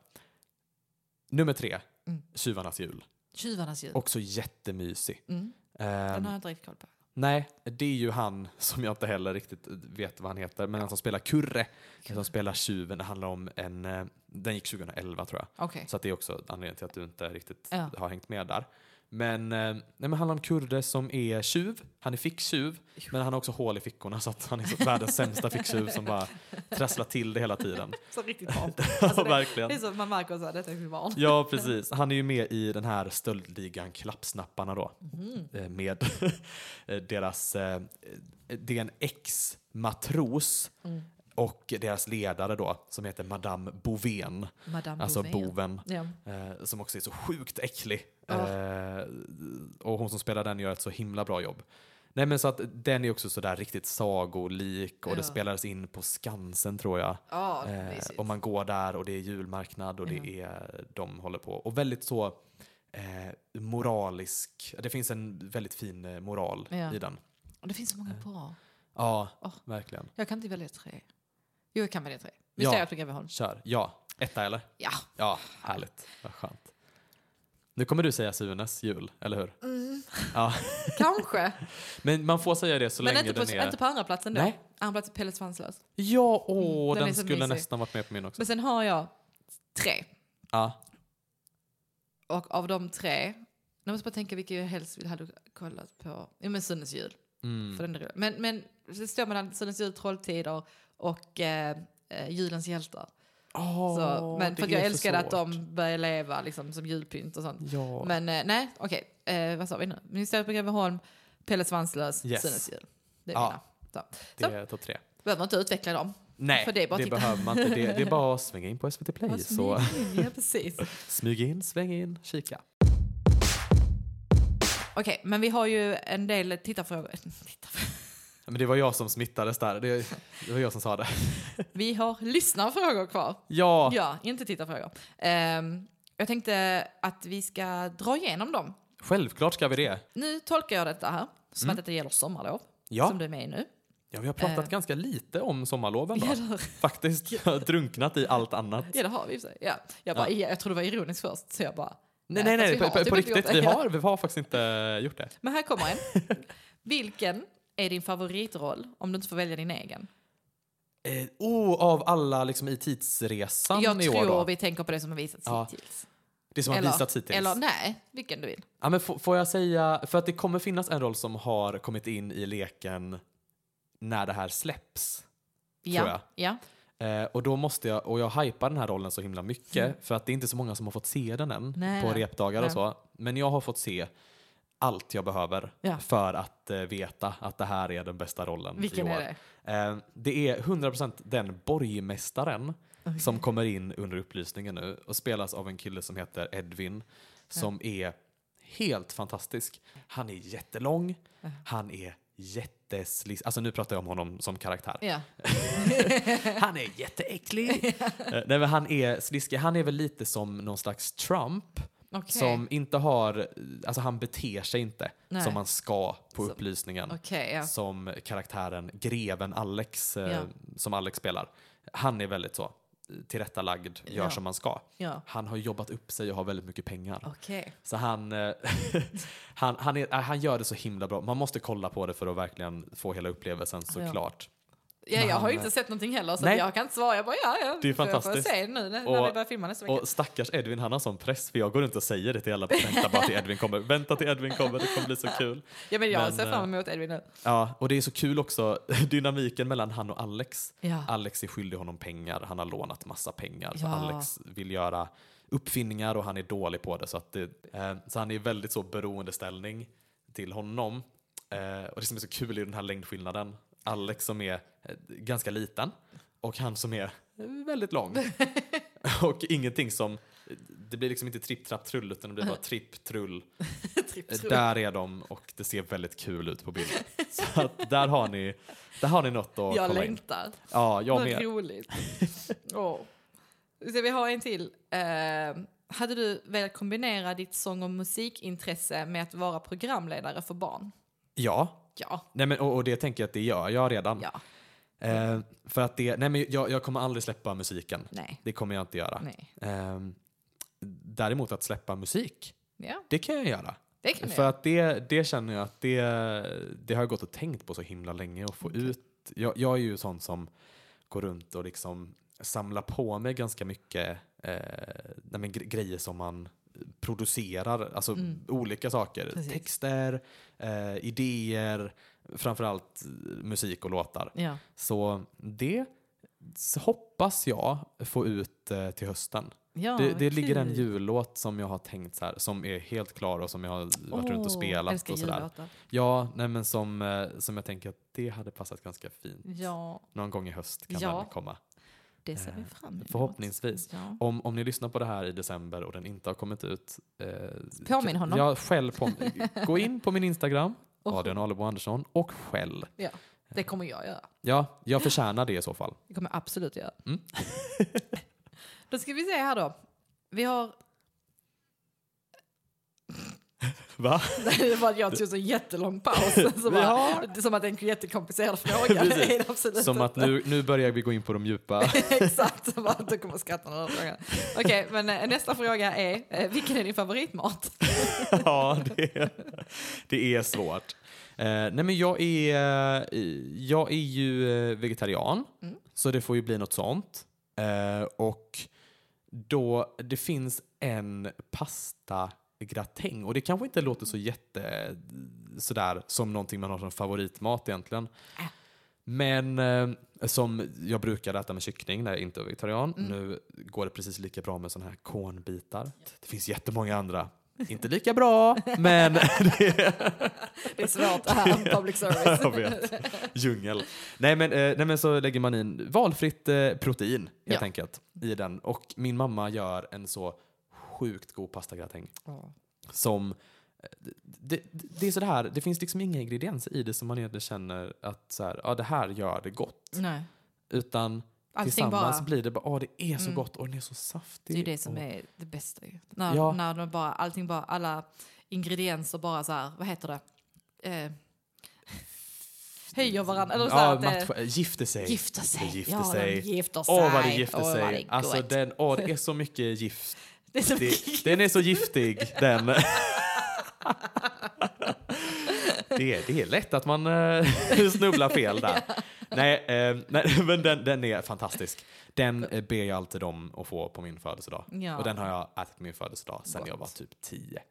Nummer tre,
Mm.
Tjuvarnas jul.
Tjuvarnas jul.
Också jättemysig.
Mm.
Ehm,
Den har jag inte riktigt koll på.
Nej, det är ju han som jag inte heller riktigt vet vad han heter, men han som spelar Kurre, som spelar tjuven, det handlar om en... eh, Den gick 2011 tror jag.
Okej.
Så att det är också anledningen till att du inte riktigt
Ja.
har hängt med där. Men, eh, nej, men han har en kurde som är tjuv. Han är ficktjuv, men han har också hål i fickorna så att han är så världens sämsta ficktjuv som bara trasslar till det hela tiden.
Så riktigt barn. Alltså,
Ja,
det-
verkligen.
Det är så man märker så här, detta är mitt barn.
Ja, precis. Han är ju med i den här stöldligan Klappsnapparna då.
Mhm.
Eh, Med eh, deras... eh, Det är en ex-matros
Mm.
och deras ledare då som heter Madame Bovén.
Madame
Alltså
Bovin.
boven.
Ja.
Eh, som också är så sjukt äcklig.
Ja.
Eh, och hon som spelar den gör ett så himla bra jobb. Nej men så att den är också sådär riktigt sagolik och
Ja.
det spelades in på Skansen tror jag.
Ja,
Eh,
mysigt.
och man går där och det är julmarknad och det är de håller på. Och väldigt så eh, moralisk, det finns en väldigt fin eh, moral
Ja.
i den.
Och det finns så många
Eh.
bra.
Ja,
Åh.
verkligen.
Jag kan inte välja tre. Jo, jag kan välja tre. Vi
Ja.
säger att vi kan behålla.
Kör. Ja, etta eller?
Ja.
Ja, härligt. Vad skönt. Nu kommer du säga Sunes jul, eller hur? Ja.
Kanske.
Men man får säga det så
Men
länge
inte på,
den är...
inte på andra platsen då.
Nej.
Andra plats är Pelle Svanslös.
Ja, åh,
den
den,
är så
skulle
mysig.
nästan varit med på min också.
Men sen har jag tre.
Ja.
Och av de tre, jag måste bara tänka vilken jag helst hade kollat på. Jo men Sunnes jul.
mm.
För den är rolig. men, men det står mellan Sunnes jul, Trolltider och eh, eh, Julens hjältar.
Åh,
så, men
det
för att
är
jag
så
älskade att
svårt.
de började leva liksom, som julpynt och sånt.
Ja.
Men eh, nej, okej. Eh, vad sa vi nu? Ministeriet på Greveholm, Pelle Svanslös,
Yes.
Sunnes jul. Det är
Ja.
mina. Så.
Det
Så,
är topp tre.
behöver man inte utveckla dem.
Nej,
För det
det,
är bara att titta.
behöver man inte. Det, det är bara att svänga in på SVT Play.
Ja,
Så
smyg in, Ja, precis.
smyg in, sväng in, kika.
Okej, men vi har ju en del tittarfrågor. Tittarfrågor.
Ja, Men det var jag som smittades där. Det, det var jag som sa det.
Vi har lyssnarfrågor kvar.
Ja,
Ja, inte tittarfrågor. Ehm, jag tänkte att vi ska dra igenom dem.
självklart ska vi det.
Nu tolkar jag detta här som att det gäller sommarlov,
Mm. Ja.
som du är med i nu.
Ja, vi har pratat
Eh.
ganska lite om sommarloven då.
Ja, det har-
Faktiskt. Jag har drunknat i allt annat.
Ja, det har vi i och för sig. ja. Jag bara, ja. jag tror det var ironiskt först, så jag bara...
Nej,
Nej,
nej,
fast
nej,
vi har
på, på,
typ
på
inte gjort
riktigt.
det.
Vi har, vi har faktiskt inte gjort det.
Men här kommer en. Vilken är din favoritroll om du inte får välja din egen?
Eh, oh, av alla liksom, i tidsresan
jag
i år
tror
då.
vi tänker på det som har visats
Ja,
hittills.
Det som har visats hittills.
Eller nej, vilken du vill.
Ja, men f- får jag säga, för att det kommer finnas en roll som har kommit in i leken när det här släpps.
Ja,
Tror jag.
ja.
Eh, och då måste jag, och jag hypar den här rollen så himla mycket för att det är inte så många som har fått se den än
Mm. Nej,
på
nej.
repdagar
Nej.
och så. Men jag har fått se allt jag behöver
Ja.
för att eh, veta att det här är den bästa rollen
Vilken
i år.
är det?
Eh, det är 100% den borgmästaren som kommer in under upplysningen nu och spelas av en kille som heter Edvin som är helt fantastisk. Han är jättelång, han är jätteslisk. Alltså nu pratar jag om honom som karaktär.
Ja.
Han är jätteäcklig. Eh, Nej, men han är sliskig. Han är väl lite som någon slags Trump.
Okej.
Som inte har, alltså han beter sig inte
Nej.
som man ska på upplysningen.
Okej, ja.
Som karaktären greven Alex, eh,
Ja.
som Alex spelar. Han är väldigt så eh, tillrättalagd, gör
Ja.
som man ska.
Ja.
Han har jobbat upp sig och har väldigt mycket pengar.
Okej.
Så han, eh, han, han, är, eh, han gör det så himla bra. Man måste kolla på det för att verkligen få hela upplevelsen såklart.
Ja, jag har ju
Men-
inte sett någonting heller så
Nej.
jag kan inte svara. Jag bara, ja, ja.
Det är
får jag-
fantastiskt.
Får jag se nu när, när
Och-
vi börjar filma nästa vecka.
Och stackars Edvin, han har sån press för jag går runt och säger det till alla. Vänta bara till Edvin kommer, vänta till Edvin kommer, det kommer bli så kul.
ja, men jag
men, eh,
ser fram emot Edvin nu.
Ja, och det är så kul också, dynamiken mellan han och Alex.
Ja.
Alex är skyldig honom pengar, han har lånat massa pengar. Så
Ja.
Alex vill göra uppfinningar och han är dålig på det. Så, att det, eh, så han är i väldigt så beroendeställning till honom. Eh, och det som är så kul är den här längdskillnaden. Alex som är eh, ganska liten och han som är eh, väldigt lång. och ingenting som, det blir liksom inte tripp, trapp, trull utan det blir bara tripp, trull.
Tripp,
Eh,
trupp.
Där är de och det ser väldigt kul ut på bild. Så att där har ni, där har ni något att
jag
kolla in.
längtar.
Ja, jag
Vad
med.
roligt. Åh. Så vi har en till. Eh, hade du velat kombinera ditt sång och musikintresse med att vara programledare för barn?
Ja.
Ja.
Nej, men, och, och det tänker jag att det gör jag redan.
Ja.
Eh, för att det, nej men jag, jag kommer aldrig släppa musiken.
Nej.
Det kommer jag inte göra.
Nej.
Ehm, däremot att släppa musik,
Ja,
det kan jag göra.
det kan vi
För
göra.
att det, det känner jag att det, det har jag gått och tänkt på så himla länge och få ut. Jag, jag är ju sån som går runt och liksom samlar på mig ganska mycket eh, nej men gre- grejer som man producerar, alltså olika saker.
Mm. Precis.
Texter, eh, idéer, framförallt eh, musik och låtar.
Ja.
Så det s- hoppas jag få ut eh, till hösten.
Ja,
Det,
vad
det ligger en
kul.
jullåt som jag har tänkt så här, som är helt klar och som jag har varit runt och
Åh,
spelat
älskar
och sådär.
jullåtar.
Ja, nej men som, eh, som jag tänker att det hade passat ganska fint.
Ja,
Någon gång i höst kan
Ja.
den komma.
det ser vi
Eh,
fram emot.
förhoppningsvis.
Ja.
Om, om ni lyssnar på det här i december och den inte har kommit ut. Eh,
Påminn honom.
Jag skäll på Gå in på min Instagram,
Och-
Adrian Alebo Andersson, och skäll.
Ja, det kommer jag göra.
Ja, jag förtjänar det i så fall.
Det kommer jag absolut göra.
Mm.
då ska vi se här då. Vi har...
Va?
Det var att jag tog en jättelång paus. Som,
Vi
bara,
har-
som att det är en jättekomplicerad fråga. Det är det absolut
Som att
inte.
nu, nu börjar vi gå in på de djupa.
Exakt, som att du kommer skratta när du hör frågan. Okej, men eh, nästa fråga är, eh, vilken är din favoritmat?
ja, det, det är svårt. Eh, nej men jag är, eh, jag är ju eh, vegetarian, så det får ju bli något sånt. Eh, och då, det finns en pastagratäng och det kanske inte låter så jätte sådär som någonting man har som favoritmat egentligen. Men eh, som jag brukade äta med kyckling när jag inte var vegetarian. Nu går det precis lika bra med sådana här kornbitar. Det finns jättemånga andra. Inte lika bra, men
Det är svårt det här med public service.
jag vet. Djungel. Nej men, eh, nej men så lägger man in valfritt eh, protein
Ja.
helt enkelt i den. Och min mamma gör en så sjukt god pastagratäng. Som eh, det, det, det är sådär, det finns liksom inga ingredienser i det som man egentligen känner att så här, ja, det här gör det gott.
Nej.
Utan
Allting
tillsammans
bara.
blir det bara, åh det är så
Mm. Typ.
gott och den är så
Det
saftig.
är ju det som
och,
är det bästa ju. När,
Ja.
när de bara, allting bara, alla ingredienser bara så här, vad heter det? Eh, höjer varandra. Eller så här,
Ja,
att det,
match, gifter sig.
gifter sig.
Det gifter
ja,
sig.
de gifter sig.
Åh vad det gifter
Åh, vad det
sig.
är
Alltså
gott.
den, åh det är så mycket gift.
det är så
Det, den är så giftig den. Det är, det är lätt att man eh, snubblar fel där. Nej, eh, nej men den, den är fantastisk. Den eh, ber jag alltid om att få på min födelsedag.
Ja.
Och den har jag ätit på min födelsedag sedan jag var
Gott.
typ 10.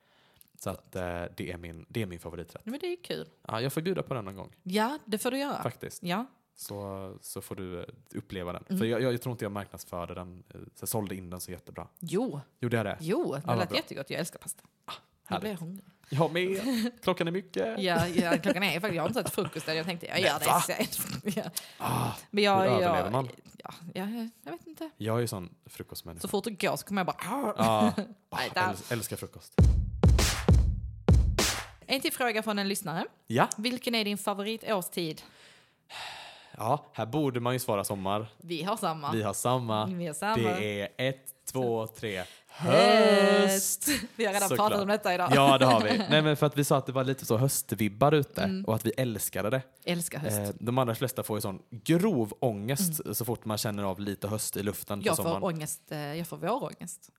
Så att, eh, det, är min, det är min favoriträtt.
Ja, men det är kul.
Ja, jag får bjuda på den någon gång
Ja, det får du göra.
faktiskt.
Ja.
Så, så får du eh, uppleva den.
Mm.
För jag, jag, jag tror inte jag marknadsförde den, eh, så jag sålde in den så jättebra.
Jo,
Gjorde jag det?
jo, det
vad
lät
bra. Ah,
jättegott. Jag älskar pasta. Nu blir jag
Härligt.
hungrig.
Jag med! Klockan är mycket.
Ja, ja, klockan är faktiskt, jag har inte ätit frukost än. Jag tänkte, jag gör
va?
det sen. Ja.
Ah,
Men jag,
Hur
jag,
överlever man?
Ja, jag, jag vet inte.
Jag är ju sån
Så
frukostmänniska.
fort det går så kommer jag bara...
Ja. Ah,
Nej, där.
äls- älskar frukost.
En till fråga från en lyssnare.
Ja.
Vilken är din favoritårstid?
ja, här borde man ju svara sommar.
Vi har samma.
Vi har samma.
Vi har samma.
Det är ett, två, tre. Höst!
Vi har redan
Såklart.
pratat om detta idag.
Ja, det har vi. Nej, men för att vi sa att det var lite så höstvibbar ute
Mm.
och att vi älskade det.
Älskar höst.
Eh, de allra flesta får ju sån grov ångest så fort man känner av lite höst i luften på
Mm. jag
sommaren.
får ångest. eh, Jag får vårångest.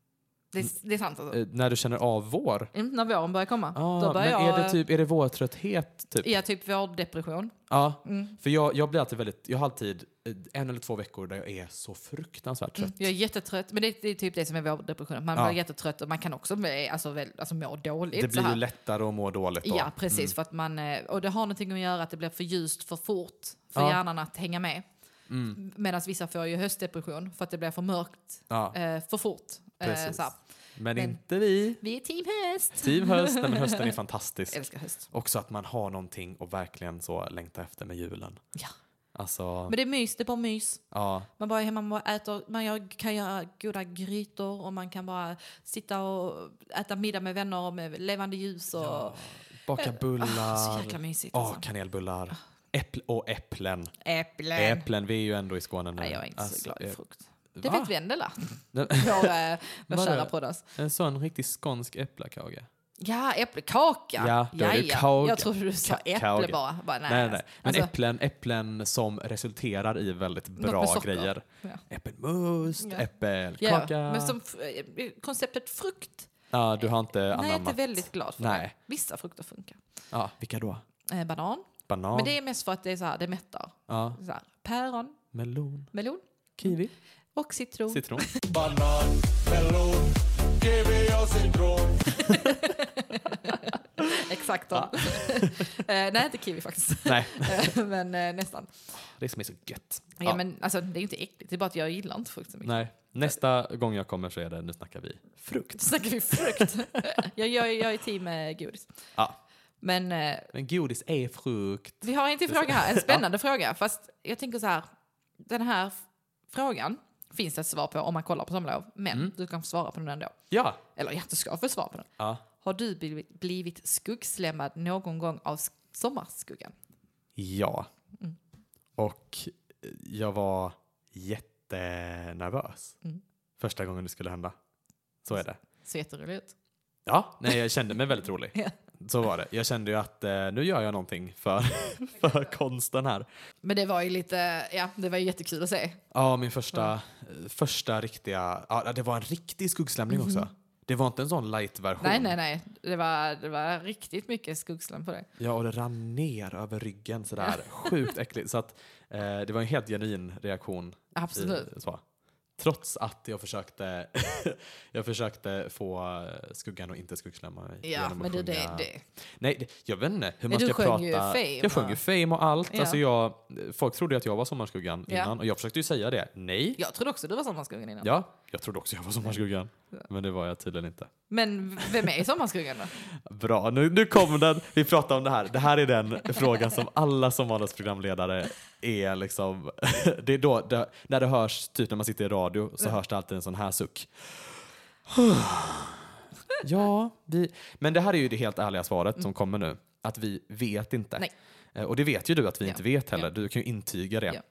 Det, är- det är sant alltså.
Eh, när du känner av vår.
Mm, när våren börjar komma.
Ah,
då
men
börjar
är det
jag,
typ, är det vårtrötthet? Typ?
Ja, typ vårdepression.
Ja,
Mm.
för jag, jag blir alltid väldigt, jag har alltid eh, en eller två veckor där jag är så fruktansvärt trött.
Jag är jättetrött. Men det, det är typ det som är vårdepression. Man
Ja.
blir jättetrött och man kan också eh, alltså, väl, alltså, må dåligt.
Det
så
blir
här.
ju lättare att må dåligt då. Mm.
Ja, precis. För att man, eh, och det har någonting att göra att det blir för ljust för fort för
Ja. Mm.
hjärnan att hänga med. Medan vissa får ju höstdepression för att det blir för mörkt
Ja,
eh, för fort. Eh,
precis.
så här.
men,
men-
inte vi.
Vi är team höst!
Team höst, nej, men Typ hösten är fantastisk.
Älskar höst.
Också att man har någonting och verkligen så längta efter med julen.
Ja.
Alltså,
Men det är mys, det är bara mys.
ja.
Man bara är hemma, man bara äter, man gör, kan göra goda grytor och man kan bara sitta och äta middag med vänner och med levande ljus. Och,
Baka
Ah,
bullar.
så jäkla mysigt.
Ja,
alltså.
kanelbullar. Äpple och äpplen.
Äpplen!
Äpplen, vi är ju ändå i Skåne nu.
Nej, jag är inte
Alltså,
så glad
eh,
i frukt. Det
va?
vet Vendela,
Nej,
vår, eh, vår
Var
kära
det-
poddas.
En sån riktig skånsk
Äh,
äpplekaka.
Ja, äpplekaka.
Ja, då är det
Jaja.
kauga.
Jag trodde du sa
Ka-
äpple
kauga.
bara. bara nej,
Nej, nej, nej. Men
Alltså,
äpplen, äpplen som resulterar i väldigt
med
bra
socker.
grejer.
Ja.
Äppelmust,
Ja. ja,
äppelkaka. Ja,
men som eh, konceptet frukt.
du har inte
nej, jag är
anammat.
inte väldigt glad för det.
Nej.
Vissa frukter funkar.
Ja, vilka då?
Eh, banan.
Banan,
Men det är mest för att det är så här, det mättar.
ja,
Så här, päron,
melon,
melon
kiwi,
och citron.
citron.
Exakt. Ja. eh, nej, inte kiwi faktiskt.
Nej,
Eh, men eh, nästan.
det som är så gött.
Ja, Men, alltså, det är inte äckligt, det är bara att jag gillar inte frukt så mycket.
Nej, nästa gång jag kommer så är det, nu snackar vi frukt.
Så snackar vi frukt. jag, jag, jag är team eh, godis.
Ja.
Men eh,
Men godis är frukt.
Vi har en till fråga här, en spännande fråga. Fast jag tänker så här, den här f- frågan finns det ett svar på om man kollar på sommarlov. Men
Mm.
du kan få svara på den ändå.
Ja.
Eller ja, du ska få svar på den.
ja.
Har du bli- blivit skuggslämmad någon gång av sk- sommarskuggan?
Ja. Och jag var jättenervös
Mm.
första gången det skulle hända. Så är det.
Ser jätterolig ut.
Ja, nej, jag kände mig väldigt rolig.
Ja.
Så var det. Jag kände ju att eh, nu gör jag någonting för, för konsten här.
Men det var ju lite, ja, det var ju jättekul att se.
Ja, min första, eh, första riktiga... Ja, det var en riktig skuggslämning också. Det var inte en sån light-version.
Nej, nej, nej. Det var, det var riktigt mycket skuggsläm på dig.
Ja, och det rann ner över ryggen sådär. Sjukt äckligt. Så att, eh, det var en helt genuin reaktion
Absolut.
I, Eh, så. Trots att jag försökte, jag försökte få skuggan att inte skuggslämma mig.
Ja,
genom att
men du, det,
sjunga-
det.
Nej, det, jag vet inte hur man
du
ska
sjöng
prata.
ju Fame,
jag sjöng
va?
ju Fame och allt.
Ja.
Alltså jag, folk trodde ju att jag var Sommarskuggan
Ja.
innan och jag försökte ju säga det. Nej.
Jag trodde också du var sommarskuggan innan.
Ja, jag trodde också jag var Sommarskuggan. Men det var jag tydligen inte.
Men v- vem är sommarskuggan då?
Bra, nu, nu kom den. Vi pratar om det här. Det här är den frågan som alla Somalias programledare är liksom... Det är då, det, när det
Mm.
hörs, typ när man sitter i radio, så hörs det alltid en sån här suck. Ja, vi... men det här är ju det helt ärliga svaret som kommer nu. Att vi vet inte.
Mm. Nej.
Eh, Och det vet ju du att vi
Ja.
inte vet heller.
Ja.
Du kan ju intyga det.
Ja.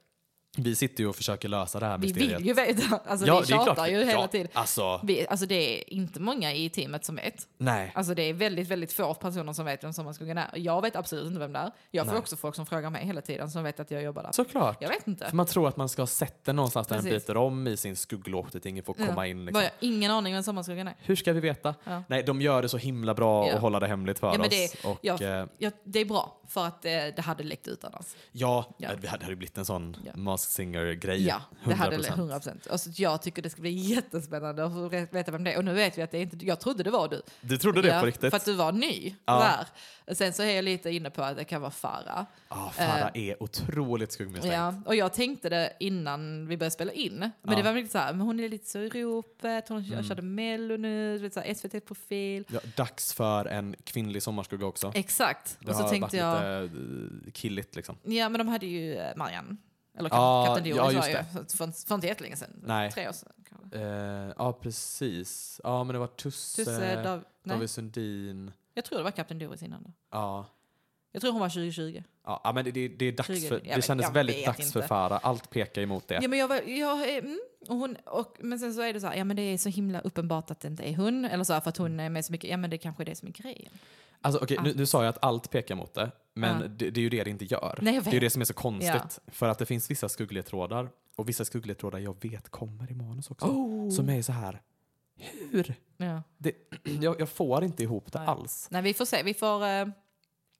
Vi sitter ju och försöker lösa det här
Vi
mysteriet.
vill ju veta. Alltså, vi
det är
tjatar
klart.
ju hela
ja,
tiden.
Alltså,
Vi, alltså det är inte många i teamet som vet.
nej.
Alltså det är väldigt, väldigt få personer som vet vem Sommarskuggan är. Jag vet absolut inte vem det är. Jag får
Nej.
också folk som frågar mig hela tiden som vet att jag jobbar där.
Såklart.
Jag vet inte.
För man tror att man ska ha sett den någonstans där den
Precis.
biter om i sin skugglåt att ingen får
Ja.
komma
Bara,
in. Liksom.
jag har ingen aning vem Sommarskuggan är.
Hur ska vi veta?
Ja.
Nej, de gör det så himla bra
Ja.
och håller det hemligt för
Ja, men
oss.
det,
och,
jag,
eh,
jag, det är bra, för att eh, det hade läckt ut annars.
ja,
Ja.
det hade ju blivit en sån
Ja.
Masked Singer-grej.
Ja, det hade
100%.
100 procent. Alltså, jag tycker det ska bli jättespännande att få re- veta vem det är. Och nu vet vi att det är inte Jag trodde det var du.
Du trodde det
Ja,
på riktigt?
För att du var ny
Ja.
där. Sen så är jag lite inne på att det kan vara Farah.
Ja, Farah är otroligt skuggmisstänkt.
eh, Ja, och jag tänkte det innan vi började spela in. Men det var lite så här, men hon är lite så i ropet, hon
Mm.
körde mello nu, du vet så här, SVT-profil.
Ja, dags för en kvinnlig sommarskugga också.
Exakt.
Det
och så
har
tänkte jag,
varit lite eh, killigt liksom.
ja men de hade ju eh, Marianne. Eller kap-
Ja,
Kapten Doris
ja,
var
just
ju
det.
för, för, för inte jättelänge sedan.
Nej.
Tre år sedan kanske.
Eh, eh, ja, precis. Ja, men det var Tusse,
Tusse, Dav, nej.
David Sundin.
Jag tror det var Kapten Doris innan då.
Ja.
Jag tror hon var 2020.
Ja, ja, men det, det, det, är dags
Tyger-
för,
jag
det
vet-
kändes
jag
väldigt
vet
dags för
inte.
Farah. Allt pekar emot det.
Ja, men, jag var, jag, eh, mm, och hon, och, men sen så är det så här, ja men det är så himla uppenbart att det inte är hon. Eller så här, för att hon är med så mycket, ja men det kanske är det som är grejen.
Alltså, okej,
Ah.
nu, nu sa jag att allt pekar mot det, men
Ja.
det, det är ju det det inte gör.
Nej, jag
det är ju
vet.
det som är så konstigt. För att det finns vissa skuggledtrådar, och vissa skuggledtrådar jag vet kommer i manus
Oh.
också. Som är så här, hur?
Ja.
Det, jag, jag får inte ihop det alls.
Nej, vi får se. Vi får, eh,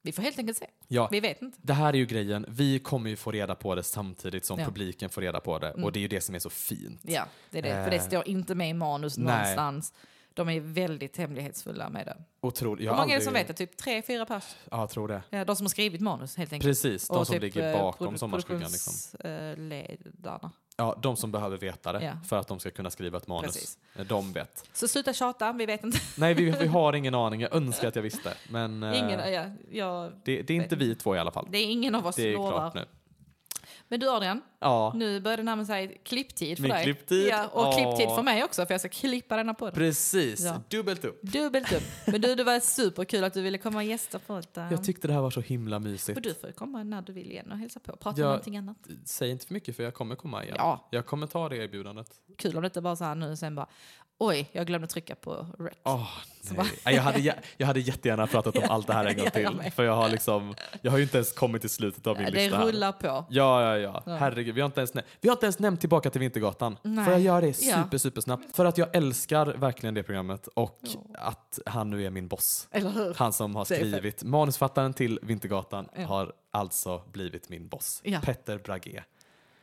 vi får helt enkelt se.
Ja,
Vi vet inte.
det här är ju grejen, vi kommer ju få reda på det samtidigt som
Ja. Mm.
publiken får reda på det. Och det är ju det som är så fint.
Ja, det är det. För det
Eh.
står inte med i manus
Nej.
någonstans. De är väldigt hemlighetsfulla med det.
Otroligt. jag
Hur
har
många är det som
aldrig-
vet det? Typ tre, fyra pers?
Ja, jag tror det.
Ja, De som har skrivit manus helt enkelt.
Precis, de
Och
som
typ,
ligger
eh,
bakom
produ-
Sommarskuggan. Liksom.
produktionsledarna.
Ja, de som behöver veta det
Ja.
för att de ska kunna skriva ett manus.
Precis.
De vet.
Så sluta tjata, vi vet inte.
Nej, vi, vi har ingen aning. Jag önskar att jag visste. Men eh,
Ingen, ja, jag,
det, det är inte vi två i alla fall.
det är ingen av oss
Det är
lovar.
klart nu.
Men du Adrian,
Ja,
nu börjar det närma sig klipptid för
Min
dig.
klipptid?
Ja, och
Åh.
klipptid för mig också, för jag ska klippa denna podden.
precis.
Ja.
Dubbelt upp.
Dubbelt upp. Men du, det var superkul att du ville komma och gästa podden.
Jag tyckte det här var så himla
Och
mysigt.
du får komma när du vill igen och hälsa på. Prata
Ja.
om någonting annat.
Säg inte för mycket för jag kommer komma igen.
Ja.
Jag kommer ta det erbjudandet.
Kul om det inte bara så här nu och sen bara oj, jag glömde trycka på rec.
Åh, nej. Nej, jag, hade, jä- jag hade jättegärna pratat om allt det här en gång
Ja, jag
till.
med.
För jag har, liksom, jag har ju inte ens kommit till slutet av min
det
lista. här.
rullar på.
Ja, ja, ja. Herregud, vi har inte ens, nä- vi har inte ens nämnt Tillbaka till Vintergatan.
Nej.
Får jag göra det
Ja.
super, supersnabbt? För att jag älskar verkligen det programmet och att han nu är min boss.
Eller hur?
Han som har
Det är fett.
skrivit manusfattaren till Vintergatan har alltså blivit min boss.
Ja.
Petter Brage.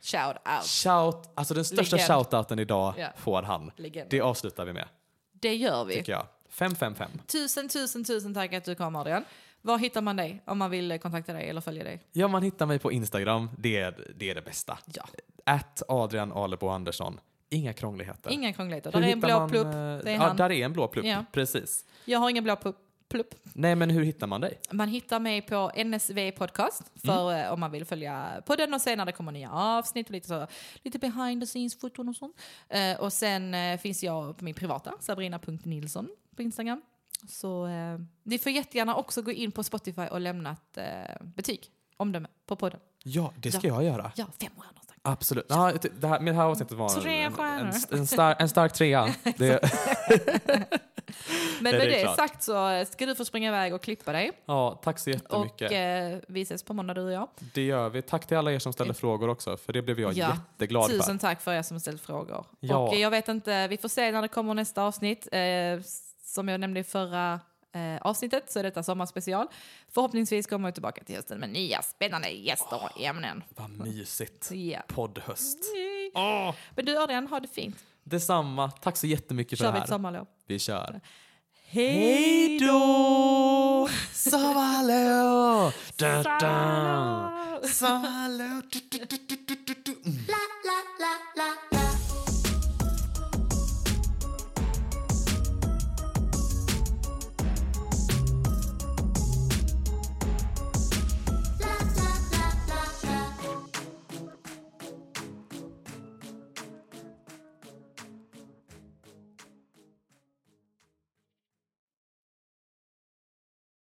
Shout out.
Shout, alltså den största
Legend.
shoutouten idag
Ja.
får han.
Legend.
Det avslutar vi med,
Det gör vi.
tycker jag. 555.
Tusen, tusen, tusen tack att du kom Adrian. Var hittar man dig om man vill eh, kontakta dig eller följa dig?
Ja, man hittar mig på Instagram. Det är det, är det bästa.
Ja.
At Adrian Alebo Andersson. Inga krångligheter.
Inga krångligheter.
Hur
Där är en
hittar
blå
man,
plupp.
eh,
Det är
ja,
han.
Där är en blå plupp,
Ja.
precis.
Jag har ingen blå plupp. plupp.
Nej, men hur hittar man dig?
Man hittar mig på NSV Podcast för
Mm.
eh, om man vill följa podden och se när det kommer nya avsnitt och lite, så, lite behind the scenes-foton och sånt. Eh, och sen eh, finns jag på min privata, sabrina.nilsson på Instagram. Så eh, ni får jättegärna också gå in på Spotify och lämna ett eh, betyg, omdöme, på podden.
Ja, det ska
Ja.
jag göra.
Ja, fem stjärnor tack.
Absolut. Ja, typ, det- det här, men det här avsnittet var en,
Tre
en,
stjärnor.
en, en, star, en stark trea. Det,
Men
det
med
är
det,
klart.
sagt så eh, ska du få springa iväg och klippa dig.
ja, tack så
Och
jättemycket.
eh, vi ses på måndag du och jag.
det gör vi. Tack till alla er som ställde frågor också, för det blev jag
Ja.
jätteglad
Tusen
för.
tack för er som ställt frågor.
Ja.
Och eh, jag vet inte, vi får se när det kommer nästa avsnitt. Eh, s- som jag nämnde i förra eh, avsnittet så är detta sommarspecial. Förhoppningsvis kommer jag tillbaka till hösten med nya spännande gäster och ämnen.
Vad mysigt.
Ja.
Poddhöst.
Yay.
Åh,
Men du Adrian, ha det fint.
detsamma. Tack så jättemycket för
Kör vi
det
ett
här.
sommarlov.
Vi kör.
Hej
då! Sommarlov! Dun, dun.
Sommarlov!
Sommarlov! Du, du, du, du.